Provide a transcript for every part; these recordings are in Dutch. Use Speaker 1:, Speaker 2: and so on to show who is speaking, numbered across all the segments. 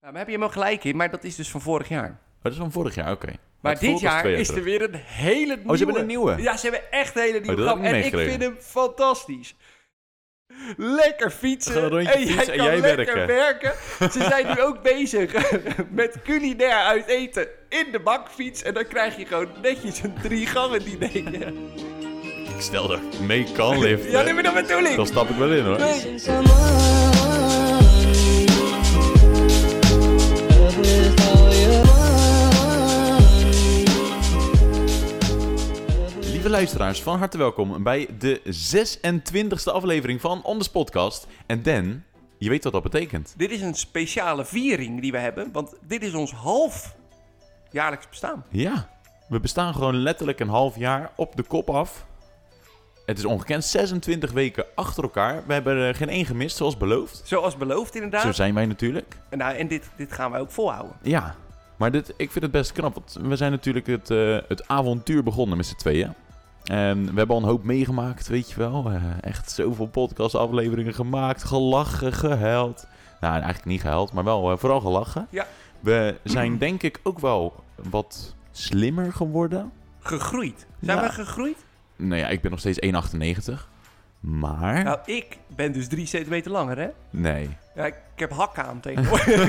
Speaker 1: Nou, maar heb je hem ook gelijk in, maar dat is dus van vorig jaar.
Speaker 2: Oh, dat is van vorig jaar, oké.
Speaker 1: Maar
Speaker 2: Het voelt
Speaker 1: dit
Speaker 2: als
Speaker 1: jaar
Speaker 2: twee
Speaker 1: is er
Speaker 2: terug.
Speaker 1: weer een hele nieuwe.
Speaker 2: Oh, ze hebben een nieuwe? Oh,
Speaker 1: Ja, ze hebben echt een hele nieuwe.
Speaker 2: dat heb ik
Speaker 1: grap. en
Speaker 2: niet
Speaker 1: ik vind
Speaker 2: meegekregen.
Speaker 1: hem fantastisch. Lekker fietsen.
Speaker 2: We gaan een rondje
Speaker 1: en jij
Speaker 2: fietsen en
Speaker 1: kan
Speaker 2: jij
Speaker 1: lekker
Speaker 2: werken.
Speaker 1: werken. Ze zijn nu ook bezig met culinair uit eten in de bakfiets. En dan krijg je gewoon netjes een drie gangen diner.
Speaker 2: Ik stel dat ik mee kan liften.
Speaker 1: Ja, dat bedoel- dat bedoel ik.
Speaker 2: Dan stap ik wel in, hoor.
Speaker 1: Nee.
Speaker 2: Lieve luisteraars, van harte welkom bij de 26e aflevering van Anders Podcast. En Dan, je weet wat dat betekent.
Speaker 1: Dit is een speciale viering die we hebben, want dit is ons half jaarlijks bestaan.
Speaker 2: Ja, we bestaan gewoon letterlijk een half jaar op de kop af. Het is ongekend, 26 weken achter elkaar. We hebben er geen één gemist, zoals beloofd.
Speaker 1: Zoals beloofd
Speaker 2: Zo
Speaker 1: inderdaad.
Speaker 2: zijn wij natuurlijk.
Speaker 1: En Nou, en dit, dit gaan wij ook volhouden.
Speaker 2: Ja, maar dit, ik vind het best knap. Want we zijn natuurlijk het, eh, het avontuur begonnen met z'n tweeën. En we hebben al een hoop meegemaakt, weet je wel. Eh, echt zoveel podcastafleveringen gemaakt, gelachen, gehuild. Nou, eigenlijk niet gehuild, maar wel eh, vooral gelachen.
Speaker 1: Ja.
Speaker 2: We zijn denk ik ook wel wat slimmer geworden.
Speaker 1: Gegroeid. Zijn
Speaker 2: Ja.
Speaker 1: we gegroeid?
Speaker 2: Nou ja, ik ben nog steeds 1,98. Maar...
Speaker 1: Nou, ik ben dus drie centimeter langer, hè?
Speaker 2: Nee.
Speaker 1: Ja, ik ik heb hak aan tegenwoordig.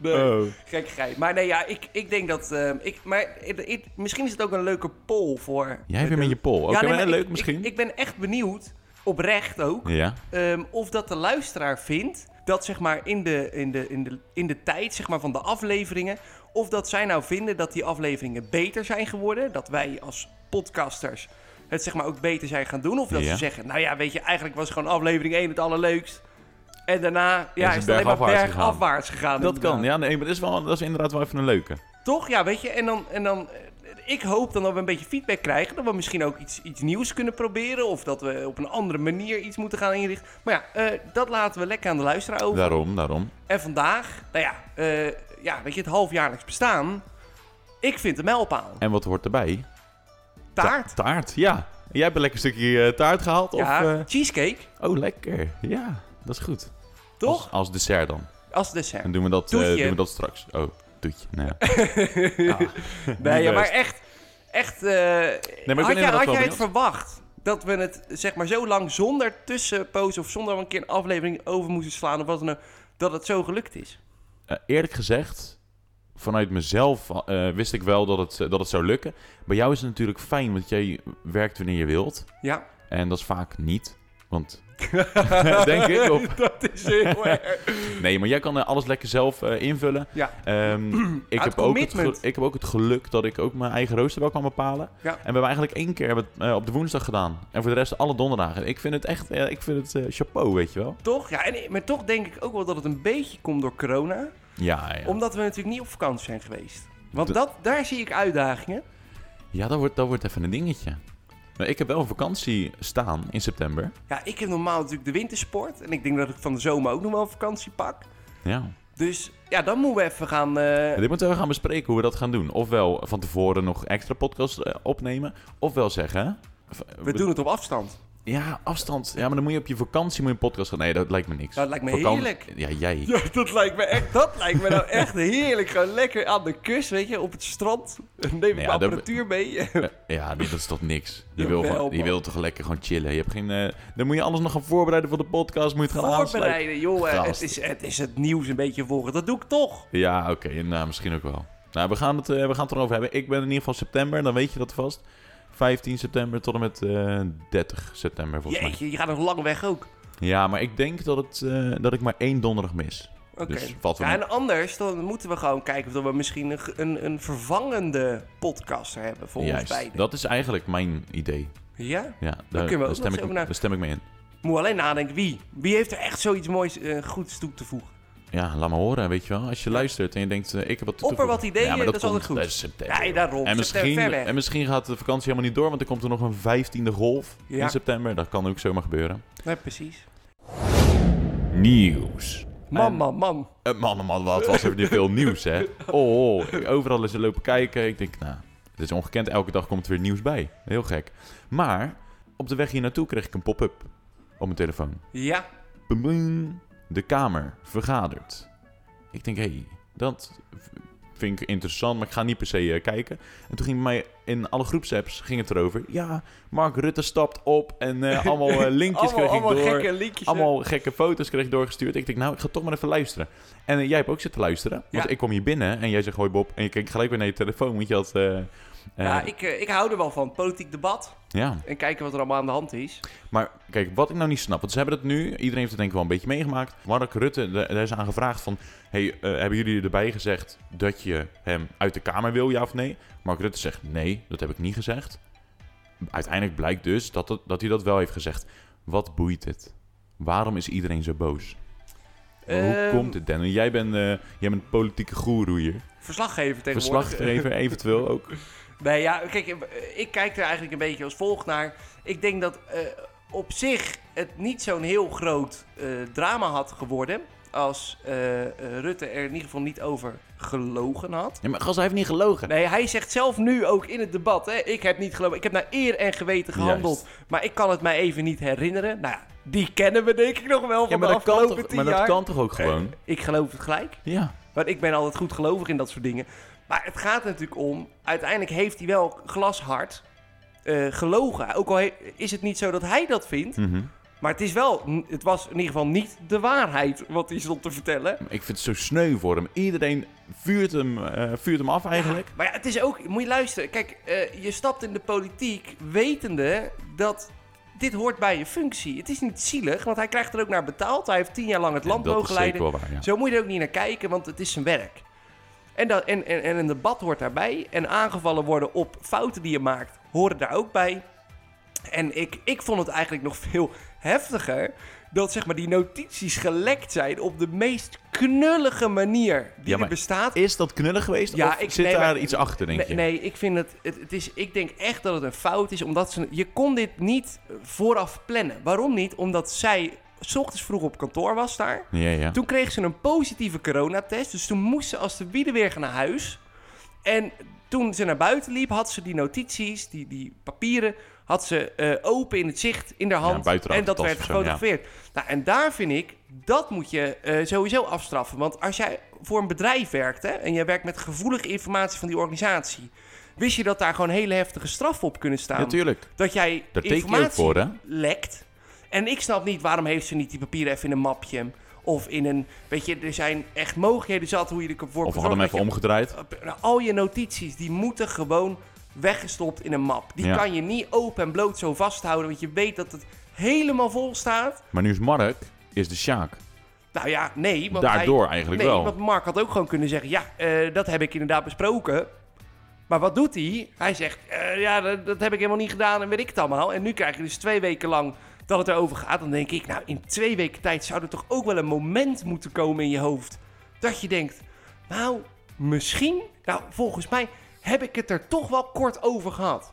Speaker 1: nee,
Speaker 2: Oh.
Speaker 1: gekkigheid. Maar nee, ja, ik, ik denk dat... ehm, ik, maar ik- ik- misschien is het ook een leuke poll voor...
Speaker 2: Jij weer met je pol. Oké,
Speaker 1: Ja, nee,
Speaker 2: maar
Speaker 1: maar
Speaker 2: leuk
Speaker 1: ik-
Speaker 2: misschien.
Speaker 1: Ik, ik ben echt benieuwd, oprecht ook,
Speaker 2: Ja.
Speaker 1: ehm, of dat de luisteraar vindt dat zeg maar in de, in de, in de, in de tijd zeg maar, van de afleveringen... of dat zij nou vinden dat die afleveringen beter zijn geworden. Dat wij als podcasters het zeg maar, ook beter zijn gaan doen. Of dat
Speaker 2: Ja.
Speaker 1: ze zeggen, nou ja, weet je, eigenlijk was gewoon aflevering 1 het allerleukst. En daarna ja,
Speaker 2: het
Speaker 1: is het alleen maar
Speaker 2: bergafwaarts
Speaker 1: bergafwaarts gegaan.
Speaker 2: Dat kan.
Speaker 1: inderdaad.
Speaker 2: Ja, nee, maar dat is, wel, dat is inderdaad wel even een leuke.
Speaker 1: Toch? Ja, weet je, en dan... En dan eh, ik hoop dan dat we een beetje feedback krijgen. Dat we misschien ook iets, iets nieuws kunnen proberen. Of dat we op een andere manier iets moeten gaan inrichten. Maar ja, eh, dat laten we lekker aan de luisteraar over.
Speaker 2: Daarom, daarom.
Speaker 1: En vandaag, nou ja, eh, ja, weet je, het halfjaarlijks bestaan. Ik vind een mijlpaal.
Speaker 2: En wat hoort erbij?
Speaker 1: Taart.
Speaker 2: Ta- taart, ja. Jij hebt een lekker stukje eh, taart gehaald?
Speaker 1: ja,
Speaker 2: Of, eh,
Speaker 1: cheesecake.
Speaker 2: Oh, lekker. Ja, dat is goed.
Speaker 1: Toch?
Speaker 2: Als, als dessert dan.
Speaker 1: Als dessert.
Speaker 2: En doen we dat, eh,
Speaker 1: Toetje.
Speaker 2: doen we dat straks. Oh, toetje. Nou ja.
Speaker 1: Nee, ja,
Speaker 2: best.
Speaker 1: maar echt. echt eh,
Speaker 2: ben
Speaker 1: had jij, had
Speaker 2: inderdaad wel
Speaker 1: jij het
Speaker 2: benieuwd.
Speaker 1: verwacht dat we het zeg maar zo lang zonder tussenpoos of zonder een keer een aflevering over moesten slaan of wat dan ook, dat het zo gelukt is?
Speaker 2: Eh, eerlijk gezegd, vanuit mezelf eh, wist ik wel dat het, eh, dat het zou lukken. Bij jou is het natuurlijk fijn, want jij werkt wanneer je wilt.
Speaker 1: Ja.
Speaker 2: En dat is vaak niet. Want, denk ik. Of,
Speaker 1: dat is heel erg.
Speaker 2: nee, maar jij kan eh, alles lekker zelf eh, invullen.
Speaker 1: Ja.
Speaker 2: Ehm, ik,
Speaker 1: Uit
Speaker 2: heb ook het
Speaker 1: commitment.
Speaker 2: ge- ik heb ook het geluk dat ik ook mijn eigen rooster wel kan bepalen.
Speaker 1: Ja.
Speaker 2: En we hebben eigenlijk één keer hebben het, eh, op de woensdag gedaan. En voor de rest alle donderdagen. Ik vind het echt, eh, ik vind het eh, chapeau, weet je wel.
Speaker 1: Toch? Ja, en, maar toch denk ik ook wel dat het een beetje komt door corona.
Speaker 2: Ja, ja.
Speaker 1: Omdat we natuurlijk niet op vakantie zijn geweest. Want
Speaker 2: Dat-
Speaker 1: dat, daar zie ik uitdagingen.
Speaker 2: ja dat, wordt, dat wordt even een dingetje. Maar ik heb wel een vakantie staan in september.
Speaker 1: Ja, ik heb normaal natuurlijk de wintersport. En ik denk dat ik van de zomer ook nog wel een vakantie pak.
Speaker 2: Ja.
Speaker 1: Dus ja, dan moeten we even gaan... eh,
Speaker 2: En Dit moeten we gaan bespreken hoe we dat gaan doen. Ofwel van tevoren nog extra podcast eh, opnemen. Ofwel zeggen... v-
Speaker 1: we doen het op afstand.
Speaker 2: Ja, afstand. Ja, maar dan moet je op je vakantie moet je een podcast gaan. Nee, dat lijkt me niks.
Speaker 1: Dat lijkt me
Speaker 2: Vakan-
Speaker 1: heerlijk.
Speaker 2: Ja, jij.
Speaker 1: Ja, dat lijkt me echt, dat lijkt me nou echt heerlijk. Gewoon lekker aan de kust, weet je, op het strand. Neem ik mijn
Speaker 2: Nou dat-
Speaker 1: apparatuur mee.
Speaker 2: Ja, nee, dat is toch niks. Je
Speaker 1: Jawel,
Speaker 2: wil, gewoon- je
Speaker 1: man.
Speaker 2: wil toch lekker gewoon chillen. Je hebt geen, eh, dan moet je alles nog gaan voorbereiden voor de podcast. Moet je het gaan aansluiten.
Speaker 1: Voorbereiden, joh. eh, Het
Speaker 2: Gast.
Speaker 1: is, het is het nieuws een beetje volgen. Dat doe ik toch.
Speaker 2: Ja, oké. nou, misschien ook wel. Nou, we gaan, het, eh, we gaan het erover hebben. Ik ben in ieder geval september. Dan weet je dat vast. 15 september tot en met eh, 30 september volgens
Speaker 1: Jeetje, je gaat nog lang weg ook.
Speaker 2: mij. Ja, maar ik denk dat, het, eh, dat ik maar één donderdag mis.
Speaker 1: Oké.
Speaker 2: Dus valt wel
Speaker 1: ja,
Speaker 2: mee.
Speaker 1: en anders, dan moeten we gewoon kijken of we misschien een, ge- een, een vervangende podcaster hebben voor ons beiden.
Speaker 2: dat is eigenlijk mijn idee.
Speaker 1: Ja?
Speaker 2: Ja, daar,
Speaker 1: kunnen we ook
Speaker 2: daar stem
Speaker 1: nog eens
Speaker 2: ik,
Speaker 1: over na-
Speaker 2: daar stem ik mee in.
Speaker 1: Moet alleen nadenken, wie? Wie heeft er echt zoiets moois eh, goeds toe te voegen?
Speaker 2: Ja, laat me horen, weet je wel. Als je luistert en je denkt, eh, ik heb wat te
Speaker 1: Op er
Speaker 2: toevoegen.
Speaker 1: wat ideeën,
Speaker 2: ja, maar
Speaker 1: dat is altijd
Speaker 2: komt-
Speaker 1: goed.
Speaker 2: Dat is september.
Speaker 1: Ja, daarom.
Speaker 2: En misschien,
Speaker 1: September ver weg.
Speaker 2: en misschien gaat de vakantie helemaal niet door, want er komt er nog een vijftiende golf
Speaker 1: Ja.
Speaker 2: in september. Dat kan ook zomaar gebeuren.
Speaker 1: Nee, precies.
Speaker 2: Nieuws.
Speaker 1: Man, man, man.
Speaker 2: Eh, man, man, wat was er weer veel nieuws, hè? Oh, oh, ik- overal is er lopen kijken. Ik denk, nou, het is ongekend. Elke dag komt er weer nieuws bij. Heel gek. Maar op de weg hier naartoe kreeg ik een pop-up op mijn telefoon.
Speaker 1: Ja,
Speaker 2: Bum, bum. de Kamer vergadert. Ik denk, hé, hey, dat v- vind ik interessant, maar ik ga niet per se eh, kijken. En toen ging bij mij in alle groepsapps ging het erover. Ja, Mark Rutte stapt op en eh, allemaal eh,
Speaker 1: allemaal
Speaker 2: linkjes kreeg ik
Speaker 1: allemaal
Speaker 2: door.
Speaker 1: gekke liedjes. hè?
Speaker 2: Allemaal gekke foto's kreeg ik doorgestuurd. Ik denk, nou, ik ga toch maar even luisteren. En eh, jij hebt ook zitten luisteren. Want
Speaker 1: Ja.
Speaker 2: ik kwam hier binnen en jij zegt, hoi Bob. En je keek gelijk weer naar je telefoon, want je had... eh, eh,
Speaker 1: ja, ik, eh, ik hou er wel van. Politiek debat.
Speaker 2: ja.
Speaker 1: En kijken wat er allemaal aan de hand is.
Speaker 2: Maar kijk, wat ik nou niet snap, want ze hebben dat nu, iedereen heeft het denk ik wel een beetje meegemaakt. Mark Rutte, de- daar is aan gevraagd van, hey, eh, hebben jullie erbij gezegd dat je hem uit de Kamer wil, ja of nee? Mark Rutte zegt, nee, dat heb ik niet gezegd. Uiteindelijk blijkt dus dat, het- dat hij dat wel heeft gezegd. Wat boeit het? Waarom is iedereen zo boos? Hoe
Speaker 1: Ehm,
Speaker 2: komt het, Dan? Jij bent, eh, jij bent een politieke goeroe hier.
Speaker 1: Verslaggever tegenwoordig.
Speaker 2: Verslaggever eventueel ook.
Speaker 1: Nee, ja, kijk, eh, ik kijk er eigenlijk een beetje als volgt naar. Ik denk dat eh, op zich het niet zo'n heel groot eh, drama had geworden. Als eh, eh, Rutte er in ieder geval niet over gelogen had.
Speaker 2: Ja, maar gast, hij heeft niet gelogen.
Speaker 1: Nee, hij zegt zelf nu ook in het debat: hè, ik heb niet gelogen. Ik heb naar eer en geweten gehandeld. Maar ik kan het mij even niet herinneren. Nou, ja, die kennen we denk ik nog wel van
Speaker 2: ja, maar,
Speaker 1: de
Speaker 2: dat kan,
Speaker 1: afgelopen
Speaker 2: toch,
Speaker 1: tien
Speaker 2: maar
Speaker 1: jaar.
Speaker 2: dat kan toch ook gewoon?
Speaker 1: Ik geloof het gelijk.
Speaker 2: Ja.
Speaker 1: Want ik ben altijd goed gelovig in dat soort dingen. Maar het gaat er natuurlijk om. Uiteindelijk heeft hij wel glashard eh, gelogen. Ook al he- is het niet zo dat hij dat vindt.
Speaker 2: Mhm.
Speaker 1: Maar het, is wel, het was in ieder geval niet de waarheid wat hij stond te vertellen.
Speaker 2: Ik vind het zo sneu voor hem. Iedereen vuurt hem, eh, vuurt hem af eigenlijk.
Speaker 1: Maar ja, het is ook. Moet je luisteren. Kijk, eh, je stapt in de politiek wetende dat. Dit hoort bij je functie. Het is niet zielig, want hij krijgt er ook naar betaald. Hij heeft tien jaar lang het land
Speaker 2: dat
Speaker 1: mogen
Speaker 2: is
Speaker 1: leiden.
Speaker 2: zeker wel waar, ja.
Speaker 1: Zo moet je er ook niet naar kijken, want het is zijn werk. En, dat, en, en, en een debat hoort daarbij. En aangevallen worden op fouten die je maakt, horen daar ook bij. En ik, ik vond het eigenlijk nog veel heftiger dat zeg maar, die notities gelekt zijn op de meest knullige manier die
Speaker 2: Ja, maar
Speaker 1: er bestaat.
Speaker 2: Is dat knullig geweest?
Speaker 1: Ja,
Speaker 2: of
Speaker 1: ik-
Speaker 2: zit
Speaker 1: nee,
Speaker 2: daar
Speaker 1: maar-
Speaker 2: iets achter, denk je?
Speaker 1: Nee, nee, ik vind het, het, het is, ik denk echt dat het een fout is, omdat ze, je kon dit niet eh, vooraf plannen. Waarom niet? Omdat zij 's ochtends vroeg op kantoor was daar.
Speaker 2: Ja, ja.
Speaker 1: Toen kreeg ze een positieve coronatest. Dus toen moest ze als de wiede weer gaan naar huis. En toen ze naar buiten liep, had ze die notities, die, die papieren, had ze eh, open in het zicht in haar hand.
Speaker 2: buitenaf
Speaker 1: en dat
Speaker 2: tas
Speaker 1: werd
Speaker 2: of zo, ja.
Speaker 1: gefotografeerd. Nou, en daar vind ik, dat moet je eh, sowieso afstraffen. Want als jij voor een bedrijf werkt hè, en jij werkt met gevoelige informatie van die organisatie, wist je dat daar gewoon hele heftige straffen op kunnen staan.
Speaker 2: Natuurlijk.
Speaker 1: dat jij
Speaker 2: Daar teken je ook
Speaker 1: informatie
Speaker 2: voor, hè?
Speaker 1: lekt. En ik snap niet waarom heeft ze niet die papieren even in een mapje. Of in een. Weet je, er zijn echt mogelijkheden zat hoe je ervoor kunt
Speaker 2: Of
Speaker 1: zorgen
Speaker 2: we hadden hem even
Speaker 1: dat
Speaker 2: omgedraaid.
Speaker 1: je- Nou, Al je notities, die moeten gewoon weggestopt in een map. Die
Speaker 2: Ja.
Speaker 1: kan je niet open en bloot zo vasthouden. Want je weet dat het helemaal vol staat.
Speaker 2: Maar nu is Mark is de Sjaak.
Speaker 1: Nou ja, nee. Want hij-
Speaker 2: Daardoor eigenlijk
Speaker 1: nee,
Speaker 2: wel.
Speaker 1: want Mark had ook gewoon kunnen zeggen: Ja, eh, dat heb ik inderdaad besproken. Maar wat doet hij? Hij zegt: eh, Ja, dat, dat heb ik helemaal niet gedaan en weet ik het allemaal. En nu krijg je dus twee weken lang dat het erover gaat. Dan denk ik: Nou, in twee weken tijd zou er toch ook wel een moment moeten komen in je hoofd. Dat je denkt: Nou, misschien. Nou, volgens mij heb ik het er toch wel kort over gehad.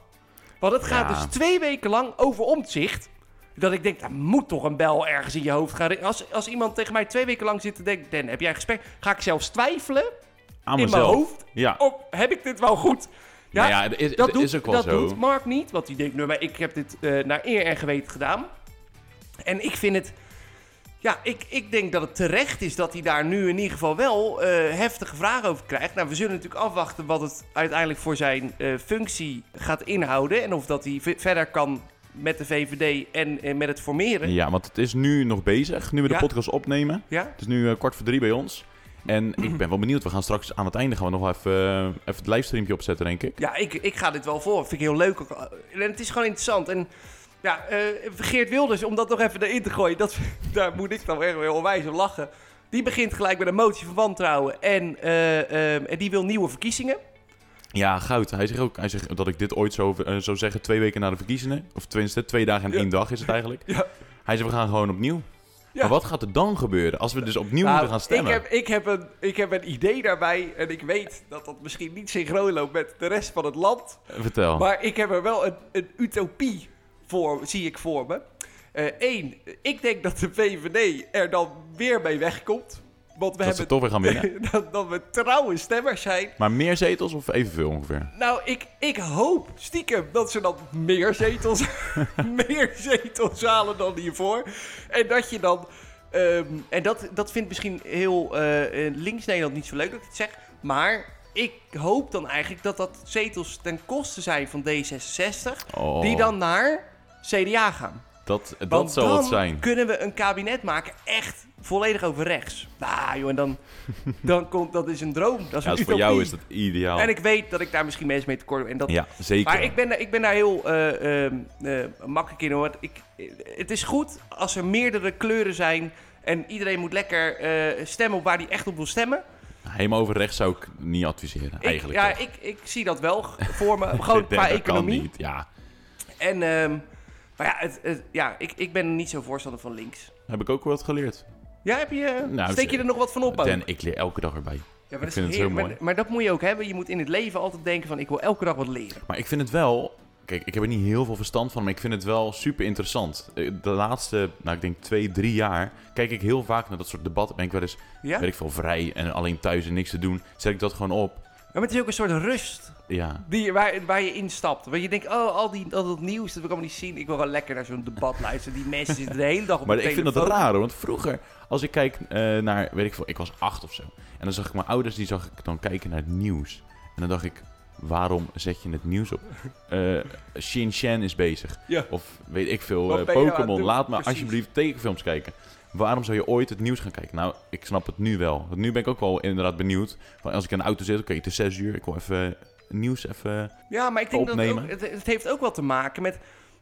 Speaker 1: Want het gaat
Speaker 2: Ja.
Speaker 1: dus twee weken lang over omzicht. Dat ik denk, daar moet toch een bel ergens in je hoofd gaan. ri- Als, als iemand tegen mij twee weken lang zit te denken... Dan, heb jij een gesprek? Ga ik zelfs twijfelen
Speaker 2: Aan
Speaker 1: in mijn
Speaker 2: mezelf.
Speaker 1: hoofd?
Speaker 2: Ja.
Speaker 1: Of heb ik dit wel goed? Ja,
Speaker 2: Nou ja, het is,
Speaker 1: dat
Speaker 2: het
Speaker 1: doet,
Speaker 2: is ook wel
Speaker 1: dat
Speaker 2: zo.
Speaker 1: doet Mark niet. Want die denkt, nou, maar ik heb dit eh, naar eer en geweten gedaan. En ik vind het... Ja, ik, ik denk dat het terecht is dat hij daar nu in ieder geval wel eh, heftige vragen over krijgt. Nou, we zullen natuurlijk afwachten wat het uiteindelijk voor zijn eh, functie gaat inhouden. En of dat hij ve- verder kan met de VVD en eh, met het formeren.
Speaker 2: Ja, want het is nu nog bezig. Nu we de
Speaker 1: Ja.
Speaker 2: podcast opnemen.
Speaker 1: Ja?
Speaker 2: Het is nu eh, kwart voor drie bij ons. En ik ben wel benieuwd. We gaan straks aan het einde gaan we nog wel even, eh, even het livestreampje opzetten, denk ik.
Speaker 1: Ja, ik, ik ga dit wel voor. Vind ik heel leuk. ook. En het is gewoon interessant. En ja, eh, Geert Wilders, om dat nog even erin te gooien, dat, daar moet ik dan echt weer onwijs om lachen. Die begint gelijk met een motie van wantrouwen. En, eh, ehm, en die wil nieuwe verkiezingen.
Speaker 2: Ja, goud. Hij zegt ook hij zegt dat ik dit ooit zou, eh, zou zeggen twee weken na de verkiezingen. Of tenminste, twee dagen en
Speaker 1: Ja.
Speaker 2: één dag is het eigenlijk.
Speaker 1: Ja.
Speaker 2: Hij zegt, we gaan gewoon opnieuw.
Speaker 1: Ja.
Speaker 2: Maar wat gaat er dan gebeuren als we dus opnieuw
Speaker 1: Nou,
Speaker 2: moeten gaan stemmen?
Speaker 1: Ik heb, ik, heb een, ik heb een idee daarbij. En ik weet dat dat misschien niet synchroon loopt met de rest van het land.
Speaker 2: Eh, Vertel.
Speaker 1: Maar ik heb er wel een, een utopie voor, zie ik voor me. Eén, ik denk dat de VVD er dan weer mee wegkomt. Want we
Speaker 2: dat ze
Speaker 1: hebben
Speaker 2: toch weer gaan winnen.
Speaker 1: dat, dat we trouwe stemmers zijn.
Speaker 2: Maar meer zetels of evenveel ongeveer?
Speaker 1: Nou, ik, ik hoop stiekem dat ze dan meer zetels, meer zetels halen dan hiervoor. En dat je dan Ehm, en dat, dat vindt misschien heel eh, eh, links Nederland niet zo leuk dat ik het zeg. Maar ik hoop dan eigenlijk dat dat zetels ten koste zijn van D66.
Speaker 2: Oh,
Speaker 1: Die dan naar CDA gaan.
Speaker 2: Dat,
Speaker 1: Want
Speaker 2: dat zou
Speaker 1: dan
Speaker 2: het zijn.
Speaker 1: kunnen we een kabinet maken echt volledig over rechts. Nou joh, en dan, dan komt, dat is een droom. Dat is
Speaker 2: Ja,
Speaker 1: een
Speaker 2: dus voor jou
Speaker 1: utopie.
Speaker 2: is dat ideaal.
Speaker 1: En ik weet dat ik daar misschien mensen mee tekort doe. En dat,
Speaker 2: Ja, zeker.
Speaker 1: maar ik ben, daar- ik ben daar heel eh, ehm, eh, makkelijk in hoor. Want Ik, eh, het is goed als er meerdere kleuren zijn. En iedereen moet lekker eh, stemmen op waar hij echt op wil stemmen.
Speaker 2: Helemaal over rechts zou ik niet adviseren,
Speaker 1: ik,
Speaker 2: eigenlijk.
Speaker 1: ja,
Speaker 2: toch?
Speaker 1: ik, ik zie dat wel g- voor me.
Speaker 2: Ik
Speaker 1: Gewoon
Speaker 2: denk,
Speaker 1: qua
Speaker 2: dat kan
Speaker 1: economie.
Speaker 2: niet, ja.
Speaker 1: En, ehm, maar ja, het, het- ja ik, ik ben niet zo voorstander van links.
Speaker 2: Heb ik ook wat geleerd.
Speaker 1: Ja, heb je, eh,
Speaker 2: Nou,
Speaker 1: steek je
Speaker 2: ze-
Speaker 1: er nog wat van op? ook?
Speaker 2: Dan, ik leer elke dag erbij.
Speaker 1: ja, maar
Speaker 2: ik vind het
Speaker 1: heer-
Speaker 2: heel
Speaker 1: maar-
Speaker 2: mooi.
Speaker 1: Maar, dat moet je ook hebben. Je moet in het leven altijd denken van ik wil elke dag wat leren.
Speaker 2: Maar ik vind het wel... Kijk, ik heb er niet heel veel verstand van, maar ik vind het wel super interessant. Eh, De laatste, nou ik denk twee, drie jaar, kijk ik heel vaak naar dat soort debatten. Ben ik wel eens,
Speaker 1: Ja?
Speaker 2: weet ik veel, vrij en alleen thuis en niks te doen. Zet ik dat gewoon op.
Speaker 1: Ja, Maar het is ook een soort rust.
Speaker 2: Ja,
Speaker 1: Die, waar, waar je instapt. Want je denkt, oh, al, die, al dat nieuws, dat wil ik allemaal niet zien. Ik wil wel lekker naar zo'n debat luisteren. Die mensen zitten de hele dag op
Speaker 2: Maar
Speaker 1: de
Speaker 2: ik vind dat
Speaker 1: telefoon.
Speaker 2: raar, hoor, want vroeger, als ik kijk eh, naar, weet ik veel, ik was acht of zo. En dan zag ik mijn ouders, die zag ik dan kijken naar het nieuws. En dan dacht ik, waarom zet je het nieuws op? Eh Shin Shan is bezig.
Speaker 1: Ja.
Speaker 2: Of weet ik veel,
Speaker 1: Wat
Speaker 2: eh,
Speaker 1: ben je nou aan het
Speaker 2: Pokémon.
Speaker 1: doen?
Speaker 2: Laat me
Speaker 1: Precies.
Speaker 2: alsjeblieft tekenfilms kijken. Waarom zou je ooit het nieuws gaan kijken? Nou, ik snap het nu wel. Want nu ben ik ook wel inderdaad benieuwd. Van als ik in de auto zit, oké, het is zes uur. Ik wil even eh, nieuws even...
Speaker 1: Ja, maar ik denk dat het,
Speaker 2: opnemen.
Speaker 1: ook- het, het heeft ook wat te maken met...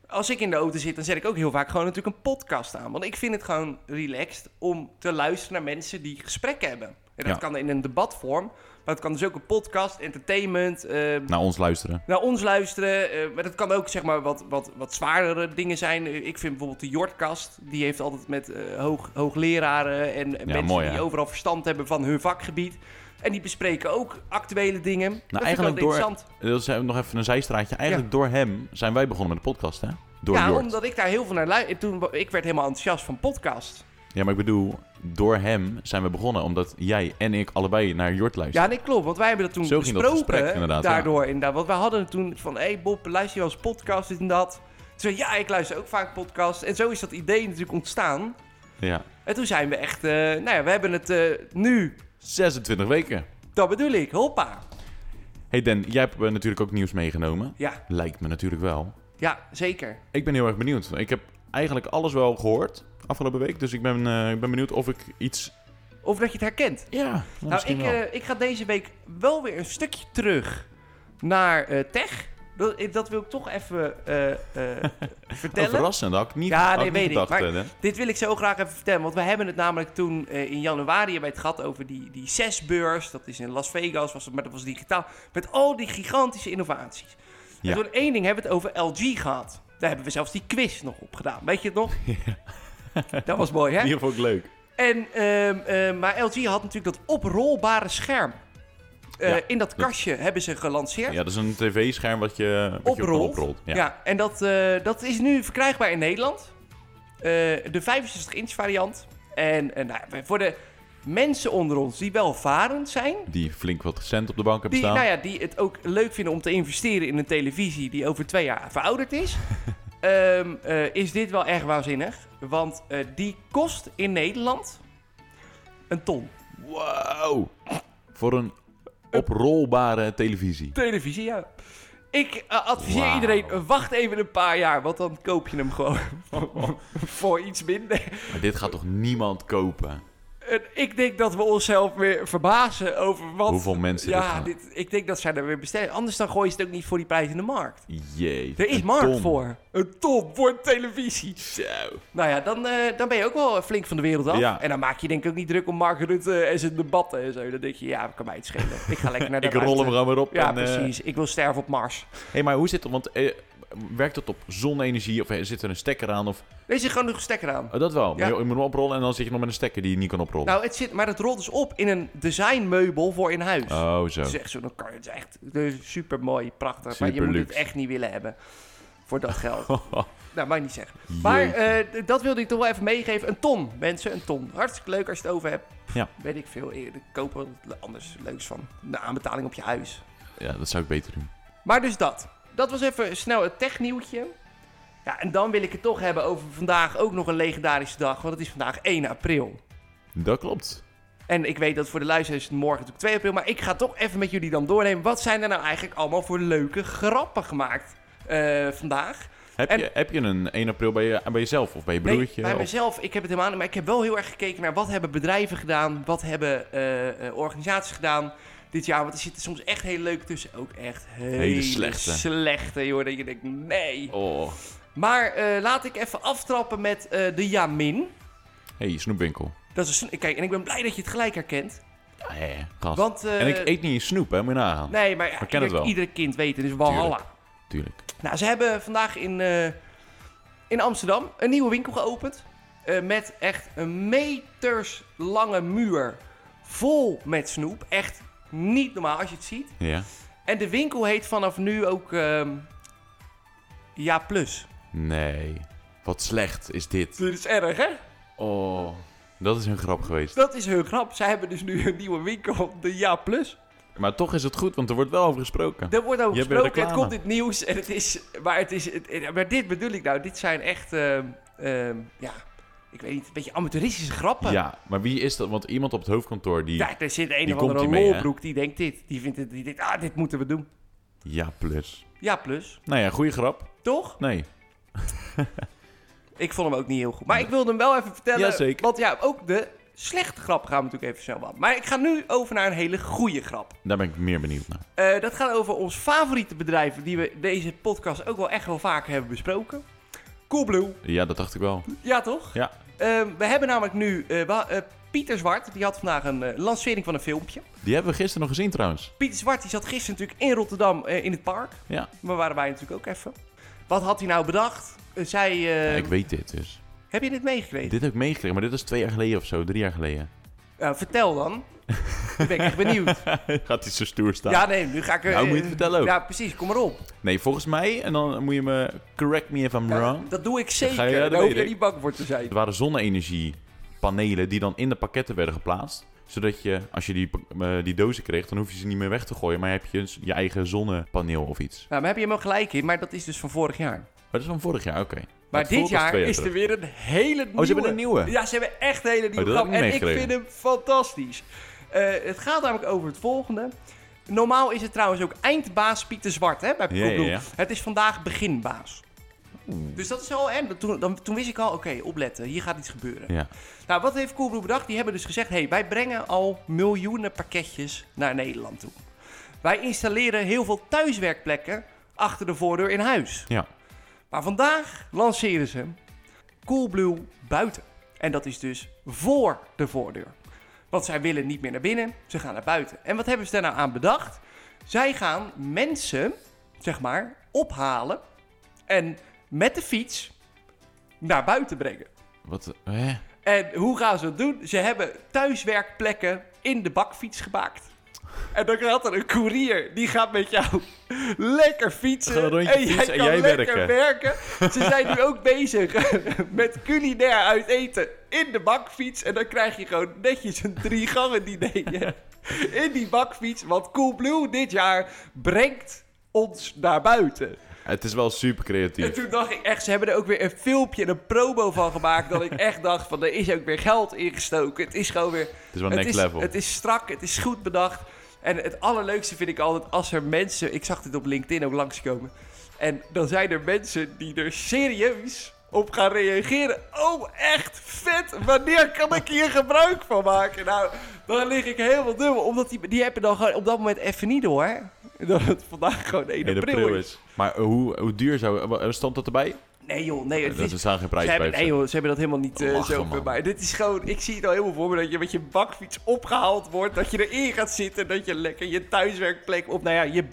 Speaker 1: Als ik in de auto zit, dan zet ik ook heel vaak gewoon natuurlijk een podcast aan. Want ik vind het gewoon relaxed om te luisteren naar mensen die gesprekken hebben. En dat
Speaker 2: Ja.
Speaker 1: kan in een debatvorm, maar dat kan dus ook een podcast, entertainment... eh,
Speaker 2: Naar ons luisteren.
Speaker 1: naar ons luisteren. eh, maar dat kan ook zeg maar, wat, wat, wat zwaardere dingen zijn. Eh, Ik vind bijvoorbeeld de Jortkast. Die heeft altijd met eh, hoog, hoogleraren en mensen
Speaker 2: mooi,
Speaker 1: die
Speaker 2: hè?
Speaker 1: overal verstand hebben van hun vakgebied. En die bespreken ook actuele dingen. Nou, dat
Speaker 2: eigenlijk
Speaker 1: vind ik wel
Speaker 2: door-
Speaker 1: interessant.
Speaker 2: Dat is eh, nog even een zijstraatje. Eigenlijk door hem zijn wij begonnen met de podcast, hè? Door
Speaker 1: ja,
Speaker 2: Jort.
Speaker 1: omdat ik daar heel veel naar luister. Toen wa- ik werd helemaal enthousiast van podcast.
Speaker 2: Ja, maar ik bedoel, door hem zijn we begonnen. Omdat jij en ik allebei naar Jort luisteren.
Speaker 1: Ja, nee, klopt. Want wij hebben dat toen
Speaker 2: Zo ging dat
Speaker 1: besproken.
Speaker 2: gesprek, inderdaad,
Speaker 1: daardoor inderdaad. Want wij hadden toen van... Hé hey Bob, luister je wel eens podcast, dit en dat? Toen zei ik, ja, ik luister ook vaak podcast. En zo is dat idee natuurlijk ontstaan.
Speaker 2: Ja.
Speaker 1: En toen zijn we echt, eh, nou ja, we hebben het eh, nu.
Speaker 2: 26 weken.
Speaker 1: Dat bedoel ik, hoppa.
Speaker 2: hey Dan, jij hebt eh, natuurlijk ook nieuws meegenomen.
Speaker 1: Ja,
Speaker 2: Lijkt me natuurlijk wel.
Speaker 1: ja, zeker.
Speaker 2: Ik ben heel erg benieuwd. Ik heb eigenlijk alles wel gehoord afgelopen week. Dus ik ben, eh, ik ben benieuwd of ik iets...
Speaker 1: Of dat je het herkent.
Speaker 2: Ja, nou,
Speaker 1: nou, ik,
Speaker 2: misschien wel.
Speaker 1: eh, ik ga deze week wel weer een stukje terug naar eh, tech. Dat, eh, dat wil ik toch even eh, eh,
Speaker 2: Oh,
Speaker 1: vertellen.
Speaker 2: verrassend, had ik niet,
Speaker 1: Ja,
Speaker 2: had
Speaker 1: nee,
Speaker 2: ik
Speaker 1: weet
Speaker 2: niet
Speaker 1: ik,
Speaker 2: gedacht.
Speaker 1: maar-
Speaker 2: eh, Dan.
Speaker 1: Dit wil ik zo graag even vertellen, want we hebben het namelijk toen eh, in januari hebben we het gehad over die, die zesbeurs. Dat is in Las Vegas, was het, maar dat was digitaal. Met al die gigantische innovaties.
Speaker 2: Ja.
Speaker 1: En toen één ding hebben we het over LG gehad. Daar hebben we zelfs die quiz nog op gedaan. Weet je het nog? Dat was mooi, hè?
Speaker 2: Die vond ik leuk.
Speaker 1: En, ehm, ehm, maar LG had natuurlijk dat oprolbare scherm. Eh,
Speaker 2: Ja,
Speaker 1: in dat kastje hebben ze gelanceerd.
Speaker 2: Ja, dat is een tv-scherm wat je, wat je ook
Speaker 1: Oprolt.
Speaker 2: oprolt.
Speaker 1: Ja,
Speaker 2: Ja.
Speaker 1: en dat, eh, dat is nu verkrijgbaar in Nederland. Eh, de 65-inch variant. En eh, nou, voor de mensen onder ons die welvarend zijn.
Speaker 2: Die flink wat cent op de bank hebben
Speaker 1: Die,
Speaker 2: staan.
Speaker 1: nou ja, die het ook leuk vinden om te investeren in een televisie die over twee jaar verouderd is. ehm, eh, is dit wel erg waanzinnig. Want eh, die kost in Nederland een ton.
Speaker 2: Wow! Voor een oprolbare televisie.
Speaker 1: Televisie, ja. Ik eh, adviseer
Speaker 2: Wauw.
Speaker 1: iedereen, eh, wacht even een paar jaar, want dan koop je hem gewoon voor iets minder.
Speaker 2: Maar dit gaat toch niemand kopen?
Speaker 1: En ik denk dat we onszelf weer verbazen over wat...
Speaker 2: Hoeveel mensen dit
Speaker 1: Ja,
Speaker 2: gaan-
Speaker 1: dit, ik denk dat zij er weer bestellen. Anders dan gooi je het ook niet voor die prijs in de markt.
Speaker 2: Jee.
Speaker 1: Er is
Speaker 2: een
Speaker 1: markt
Speaker 2: ton.
Speaker 1: voor. Een ton voor televisie.
Speaker 2: Zo.
Speaker 1: Nou ja, dan, eh, dan ben je ook wel flink van de wereld af.
Speaker 2: Ja.
Speaker 1: En dan maak je denk ik ook niet druk om Mark Rutte en zijn debatten en zo. Dan denk je, ja, kan mij het schelen. Ik ga lekker naar de
Speaker 2: Ik rol
Speaker 1: ruimte.
Speaker 2: hem gewoon weer op.
Speaker 1: Ja,
Speaker 2: en, eh,
Speaker 1: precies. Ik wil sterven op Mars.
Speaker 2: hey, maar hoe zit het? Want eh, werkt dat op zonne-energie? Of eh, zit er een stekker aan? Of,
Speaker 1: Deze zit gewoon nog een stekker aan.
Speaker 2: Oh, dat wel.
Speaker 1: Ja.
Speaker 2: Maar je, je moet hem oprollen en dan zit je nog met een stekker die je niet kan oprollen.
Speaker 1: Nou, het zit, maar het rolt dus op in een designmeubel voor in huis.
Speaker 2: oh, zo.
Speaker 1: Het is echt zo'n kar. Het is echt super mooi, prachtig. maar je moet
Speaker 2: Superluxe.
Speaker 1: het echt niet willen hebben. Voor dat geld. nou, mag ik niet zeggen.
Speaker 2: Jeetje.
Speaker 1: Maar eh, d- dat wilde ik toch wel even meegeven. Een ton, mensen. Een ton. Hartstikke leuk als je het over hebt. Pff,
Speaker 2: Ja.
Speaker 1: Weet ik veel. Eh, Koop er wat anders leuks van. De aanbetaling op je huis.
Speaker 2: ja, dat zou ik beter doen.
Speaker 1: Maar dus dat. Dat was even snel het technieuwtje. Ja, en dan wil ik het toch hebben over vandaag ook nog een legendarische dag, want het is vandaag 1 april.
Speaker 2: Dat klopt.
Speaker 1: En ik weet dat voor de luisteraars is het morgen natuurlijk 2 april. Maar ik ga toch even met jullie dan doornemen. Wat zijn er nou eigenlijk allemaal voor leuke grappen gemaakt eh, vandaag?
Speaker 2: Heb,
Speaker 1: En-
Speaker 2: je, heb je een 1 april bij, je, bij jezelf of bij je broertje?
Speaker 1: nee, bij
Speaker 2: of-
Speaker 1: mezelf, ik heb het helemaal niet. Maar ik heb wel heel erg gekeken naar wat hebben bedrijven gedaan. Wat hebben eh, eh, organisaties gedaan dit jaar. Want er zitten soms echt hele leuke tussen. Ook echt hele,
Speaker 2: slechte.
Speaker 1: slechte, joh. Dat je denkt, nee.
Speaker 2: Oh,
Speaker 1: Maar eh, laat ik even aftrappen met eh, de Jamin.
Speaker 2: hey, snoepwinkel.
Speaker 1: Dat is dus een, sn- kijk, en ik ben blij dat je het gelijk herkent.
Speaker 2: Ja, hè, gast.
Speaker 1: Want, eh,
Speaker 2: en ik eet niet in snoep, hè? Moet je nagaan.
Speaker 1: Nee, maar ja,
Speaker 2: We kennen het wel.
Speaker 1: ieder kind weet het. Dus walhalla.
Speaker 2: Tuurlijk.
Speaker 1: Nou, ze hebben vandaag in, eh, in Amsterdam een nieuwe winkel geopend. Eh, met echt een meterslange muur vol met snoep. Echt niet normaal als je het ziet.
Speaker 2: Ja.
Speaker 1: En de winkel heet vanaf nu ook ehm, Ja Plus.
Speaker 2: Nee. Wat slecht is dit.
Speaker 1: Dit is erg, hè?
Speaker 2: Oh, dat is een grap geweest.
Speaker 1: Dat is heel grap. Zij hebben dus nu een nieuwe winkel, de Ja Plus.
Speaker 2: Maar toch is het goed, want er wordt wel over gesproken.
Speaker 1: Daar wordt over
Speaker 2: Je hebt weer
Speaker 1: gesproken, het
Speaker 2: reclame.
Speaker 1: komt in het nieuws. En het is, maar, het is, het- maar dit bedoel ik nou. Dit zijn echt, ehm, ehm, ja, ik weet niet, een beetje amateuristische grappen.
Speaker 2: Ja, maar wie is dat? Want iemand op het hoofdkantoor die...
Speaker 1: Ja, er zit een
Speaker 2: die
Speaker 1: of
Speaker 2: komt
Speaker 1: andere
Speaker 2: hiermee, hè?
Speaker 1: lolbroek die denkt dit. Die vindt het, die denkt, ah, dit moeten we doen.
Speaker 2: Ja, plus.
Speaker 1: Ja, plus.
Speaker 2: Nou ja, goede grap.
Speaker 1: Toch?
Speaker 2: Nee.
Speaker 1: Ik vond hem ook niet heel goed. Maar ik wilde hem wel even vertellen.
Speaker 2: Jazeker.
Speaker 1: Want ja, ook de slechte grap gaan we natuurlijk even snel aan. Maar ik ga nu over naar een hele goede grap.
Speaker 2: Daar ben ik meer benieuwd naar.
Speaker 1: Eh, dat gaat over ons favoriete bedrijf die we deze podcast ook wel echt wel vaker hebben besproken. Coolblue.
Speaker 2: Ja, dat dacht ik wel.
Speaker 1: Ja, toch?
Speaker 2: Ja.
Speaker 1: Eh, we hebben namelijk nu... eh, wa- eh, Pieter Zwart, die had vandaag een eh, lancering van een filmpje.
Speaker 2: Die hebben we gisteren nog gezien trouwens.
Speaker 1: Pieter Zwart die zat gisteren natuurlijk in Rotterdam eh, in het park.
Speaker 2: Ja.
Speaker 1: Maar waren wij natuurlijk ook even. Wat had hij nou bedacht? Eh, Zij, eh,
Speaker 2: Ja, ik weet dit dus.
Speaker 1: Heb je dit meegekregen?
Speaker 2: Dit heb ik meegekregen, maar dit is twee jaar geleden of zo, drie jaar geleden.
Speaker 1: Nou, vertel dan. ik ben echt benieuwd.
Speaker 2: Gaat hij zo stoer staan?
Speaker 1: Ja, nee, nu ga ik... eh,
Speaker 2: Nou, moet je het vertellen ook.
Speaker 1: Ja, precies. Kom maar op.
Speaker 2: Nee, volgens mij, en dan moet je me correct me if I'm
Speaker 1: Ja,
Speaker 2: wrong.
Speaker 1: dat doe ik
Speaker 2: ga
Speaker 1: zeker.
Speaker 2: je- ja, dat
Speaker 1: Daar hoef
Speaker 2: weet
Speaker 1: je
Speaker 2: ik.
Speaker 1: niet bang voor te zijn.
Speaker 2: Er waren zonne-energiepanelen die dan in de pakketten werden geplaatst. Zodat je, als je die, eh, die dozen kreeg, dan hoef je ze niet meer weg te gooien. Maar heb je een- je eigen zonnepaneel of iets.
Speaker 1: Nou, maar heb je hem wel gelijk in, maar dat is dus van vorig jaar.
Speaker 2: Maar dat is van vorig jaar, oké.
Speaker 1: Maar
Speaker 2: Het
Speaker 1: dit
Speaker 2: voelt als
Speaker 1: jaar
Speaker 2: twee
Speaker 1: is er
Speaker 2: terug.
Speaker 1: weer een hele nieuwe.
Speaker 2: Oh, ze hebben een nieuwe? Oh,
Speaker 1: Ja, ze hebben echt een hele nieuwe
Speaker 2: dat heb
Speaker 1: grap.
Speaker 2: ik niet
Speaker 1: En ik vind
Speaker 2: meegekregen.
Speaker 1: hem fantastisch. Eh, het gaat namelijk over het volgende. Normaal is het trouwens ook eindbaas Pieter Zwart hè, bij
Speaker 2: Ja, ja,
Speaker 1: Coolblue.
Speaker 2: ja.
Speaker 1: Het is vandaag beginbaas. Dus dat is al... En dat- toen, dan, toen wist ik al, oké, opletten. Hier gaat iets gebeuren.
Speaker 2: Ja.
Speaker 1: Nou, wat heeft Coolblue bedacht? Die hebben dus gezegd... hey, wij brengen al miljoenen pakketjes naar Nederland toe. Wij installeren heel veel thuiswerkplekken achter de voordeur in huis.
Speaker 2: ja.
Speaker 1: Maar vandaag lanceren ze Coolblue buiten. En dat is dus voor de voordeur. Want zij willen niet meer naar binnen, ze gaan naar buiten. En wat hebben ze daar nou aan bedacht? Zij gaan mensen, zeg maar, ophalen en met de fiets naar buiten brengen.
Speaker 2: Wat? Hè?
Speaker 1: En hoe gaan ze dat doen? Ze hebben thuiswerkplekken in de bakfiets gemaakt. En dan gaat er een koerier, die gaat met jou lekker
Speaker 2: Gewoon
Speaker 1: fietsen.
Speaker 2: een rondje
Speaker 1: en jij
Speaker 2: fietsen en
Speaker 1: kan
Speaker 2: jij
Speaker 1: lekker
Speaker 2: werken.
Speaker 1: werken. Ze zijn nu ook bezig met culinair uit eten in de bakfiets. En dan krijg je gewoon netjes een drie gangen diner in die bakfiets. Want Coolblue dit jaar brengt ons naar buiten.
Speaker 2: Het is wel super
Speaker 1: En
Speaker 2: creatief.
Speaker 1: toen dacht ik echt, ze hebben er ook weer een filmpje en een promo van gemaakt. Dat ik echt dacht van, er is ook weer geld ingestoken. Het is gewoon weer...
Speaker 2: Het is wel next
Speaker 1: is,
Speaker 2: level.
Speaker 1: Het is strak, het is goed bedacht. En het allerleukste vind ik altijd als er mensen... Ik zag dit op LinkedIn ook langskomen. En dan zijn er mensen die er serieus op gaan reageren. Oh, echt vet. Wanneer kan ik hier gebruik van maken? Nou, dan lig ik helemaal dubbel. Omdat die, die hebben dan gewoon op dat moment even niet door. Dat het vandaag gewoon 1
Speaker 2: Nee, de
Speaker 1: april
Speaker 2: bril
Speaker 1: is.
Speaker 2: is. Maar eh, hoe, hoe duur zou... eh, Stond dat erbij?
Speaker 1: Nee joh, nee. Het
Speaker 2: Dat
Speaker 1: is
Speaker 2: er staan geen
Speaker 1: ze
Speaker 2: prijs
Speaker 1: hebben,
Speaker 2: bij.
Speaker 1: nee, joh, ze hebben dat helemaal niet eh,
Speaker 2: Lachen,
Speaker 1: zo bij
Speaker 2: man.
Speaker 1: mij. Dit is gewoon, ik zie het al helemaal voor me dat je met je bakfiets opgehaald wordt. Dat je erin gaat zitten. Dat je lekker je thuiswerkplek, of nou ja, je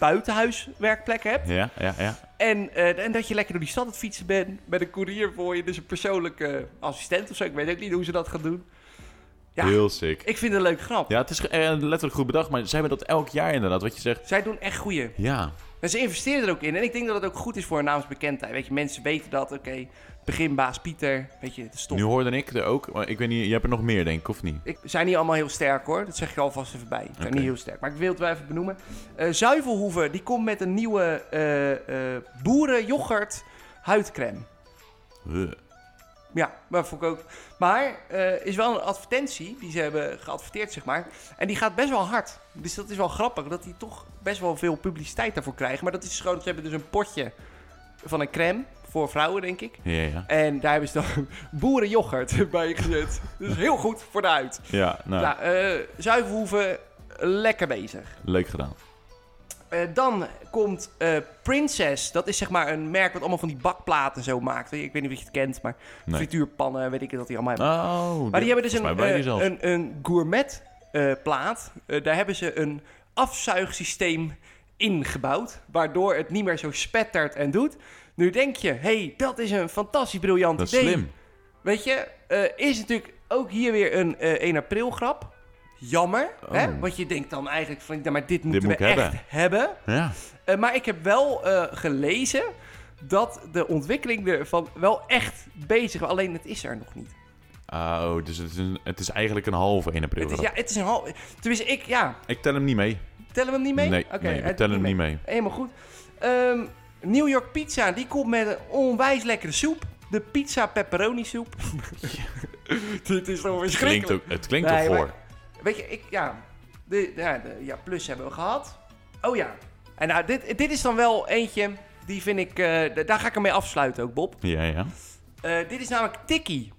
Speaker 1: buitenhuiswerkplek hebt.
Speaker 2: Ja, ja, ja.
Speaker 1: En, eh, en dat je lekker door die stad aan het fietsen bent. Met een koerier voor je, dus een persoonlijke assistent of zo. Ik weet ook niet hoe ze dat gaan doen. Ja.
Speaker 2: Heel sick.
Speaker 1: Ik vind het een leuk grap.
Speaker 2: Ja, het is ge- eh, letterlijk goed bedacht, maar ze hebben dat elk jaar inderdaad, wat je zegt.
Speaker 1: Zij doen echt goeie.
Speaker 2: Ja,
Speaker 1: En ze investeren er ook in. En ik denk dat het ook goed is voor een naamsbekendheid. Weet je, mensen weten dat. Oké, beginbaas Pieter. Weet je, het is top.
Speaker 2: nu hoorde ik er ook, maar ik weet niet, je hebt er nog meer denk ik, of niet?
Speaker 1: Ik, zijn niet allemaal heel sterk hoor, dat zeg ik alvast even bij. Ze zijn
Speaker 2: Oké.
Speaker 1: niet heel sterk, maar ik wil het wel even benoemen. Eh Zuivelhoeven, die komt met een nieuwe eh eh boerenyoghurt huidcrème.
Speaker 2: Huh.
Speaker 1: Ja, maar vond ik ook. Maar eh is wel een advertentie die ze hebben geadverteerd, zeg maar. En die gaat best wel hard. Dus dat is wel grappig, dat die toch best wel veel publiciteit daarvoor krijgen. Maar dat is gewoon, ze hebben dus een potje van een crème voor vrouwen, denk ik.
Speaker 2: Ja, ja.
Speaker 1: En daar hebben ze dan boerenyoghurt bij gezet. Dus heel goed voor de huid.
Speaker 2: Ja, nou,
Speaker 1: Nou, eh zuivelhoeven, lekker bezig.
Speaker 2: leuk gedaan.
Speaker 1: Eh, dan komt eh, Princess. Dat is zeg maar een merk wat allemaal van die bakplaten zo maakt. Ik weet niet of je het kent, maar
Speaker 2: Nee.
Speaker 1: frituurpannen, weet ik het, dat die allemaal hebben.
Speaker 2: Oh,
Speaker 1: maar die hebben dus
Speaker 2: volgens mij
Speaker 1: een,
Speaker 2: bij die
Speaker 1: eh,
Speaker 2: zelfs.
Speaker 1: een, een gourmet eh, plaat. Eh, daar hebben ze een afzuigsysteem ingebouwd, waardoor het niet meer zo spettert en doet. Nu denk je, hey, dat is een fantastisch briljant
Speaker 2: Dat is
Speaker 1: idee.
Speaker 2: slim.
Speaker 1: Weet je, eh, is natuurlijk ook hier weer een eh 1 april grap. Jammer, hè?
Speaker 2: Oh.
Speaker 1: want je denkt dan eigenlijk van, nou, maar dit moeten
Speaker 2: moet
Speaker 1: we
Speaker 2: ik
Speaker 1: echt
Speaker 2: hebben.
Speaker 1: hebben.
Speaker 2: Ja.
Speaker 1: Eh, maar ik heb wel eh, gelezen dat de ontwikkeling ervan wel echt bezig was. Alleen het is er nog niet.
Speaker 2: Oh, dus het is, een- het is eigenlijk een halve 1 april.
Speaker 1: Het is,
Speaker 2: grap.
Speaker 1: ja, het is een half. Tenminste, ik, ja.
Speaker 2: Ik tel hem niet mee.
Speaker 1: Tellen we hem niet mee?
Speaker 2: Nee,
Speaker 1: Oké,
Speaker 2: nee, we
Speaker 1: het-
Speaker 2: tellen hem niet mee.
Speaker 1: Helemaal goed. Ehm, New York Pizza, die komt met een onwijs lekkere soep. De pizza pepperoni soep. Dit is toch
Speaker 2: Het klinkt,
Speaker 1: verschrikkelijk.
Speaker 2: ook, het klinkt
Speaker 1: Nee,
Speaker 2: toch
Speaker 1: maar-
Speaker 2: voor.
Speaker 1: Weet je, ik, ja. De, ja, de- ja, plus hebben we gehad. Oh ja. En nou, dit, dit is dan wel eentje, die vind ik, eh, d- daar ga ik ermee afsluiten ook, Bob.
Speaker 2: Ja, ja.
Speaker 1: Eh, dit is namelijk Tikkie.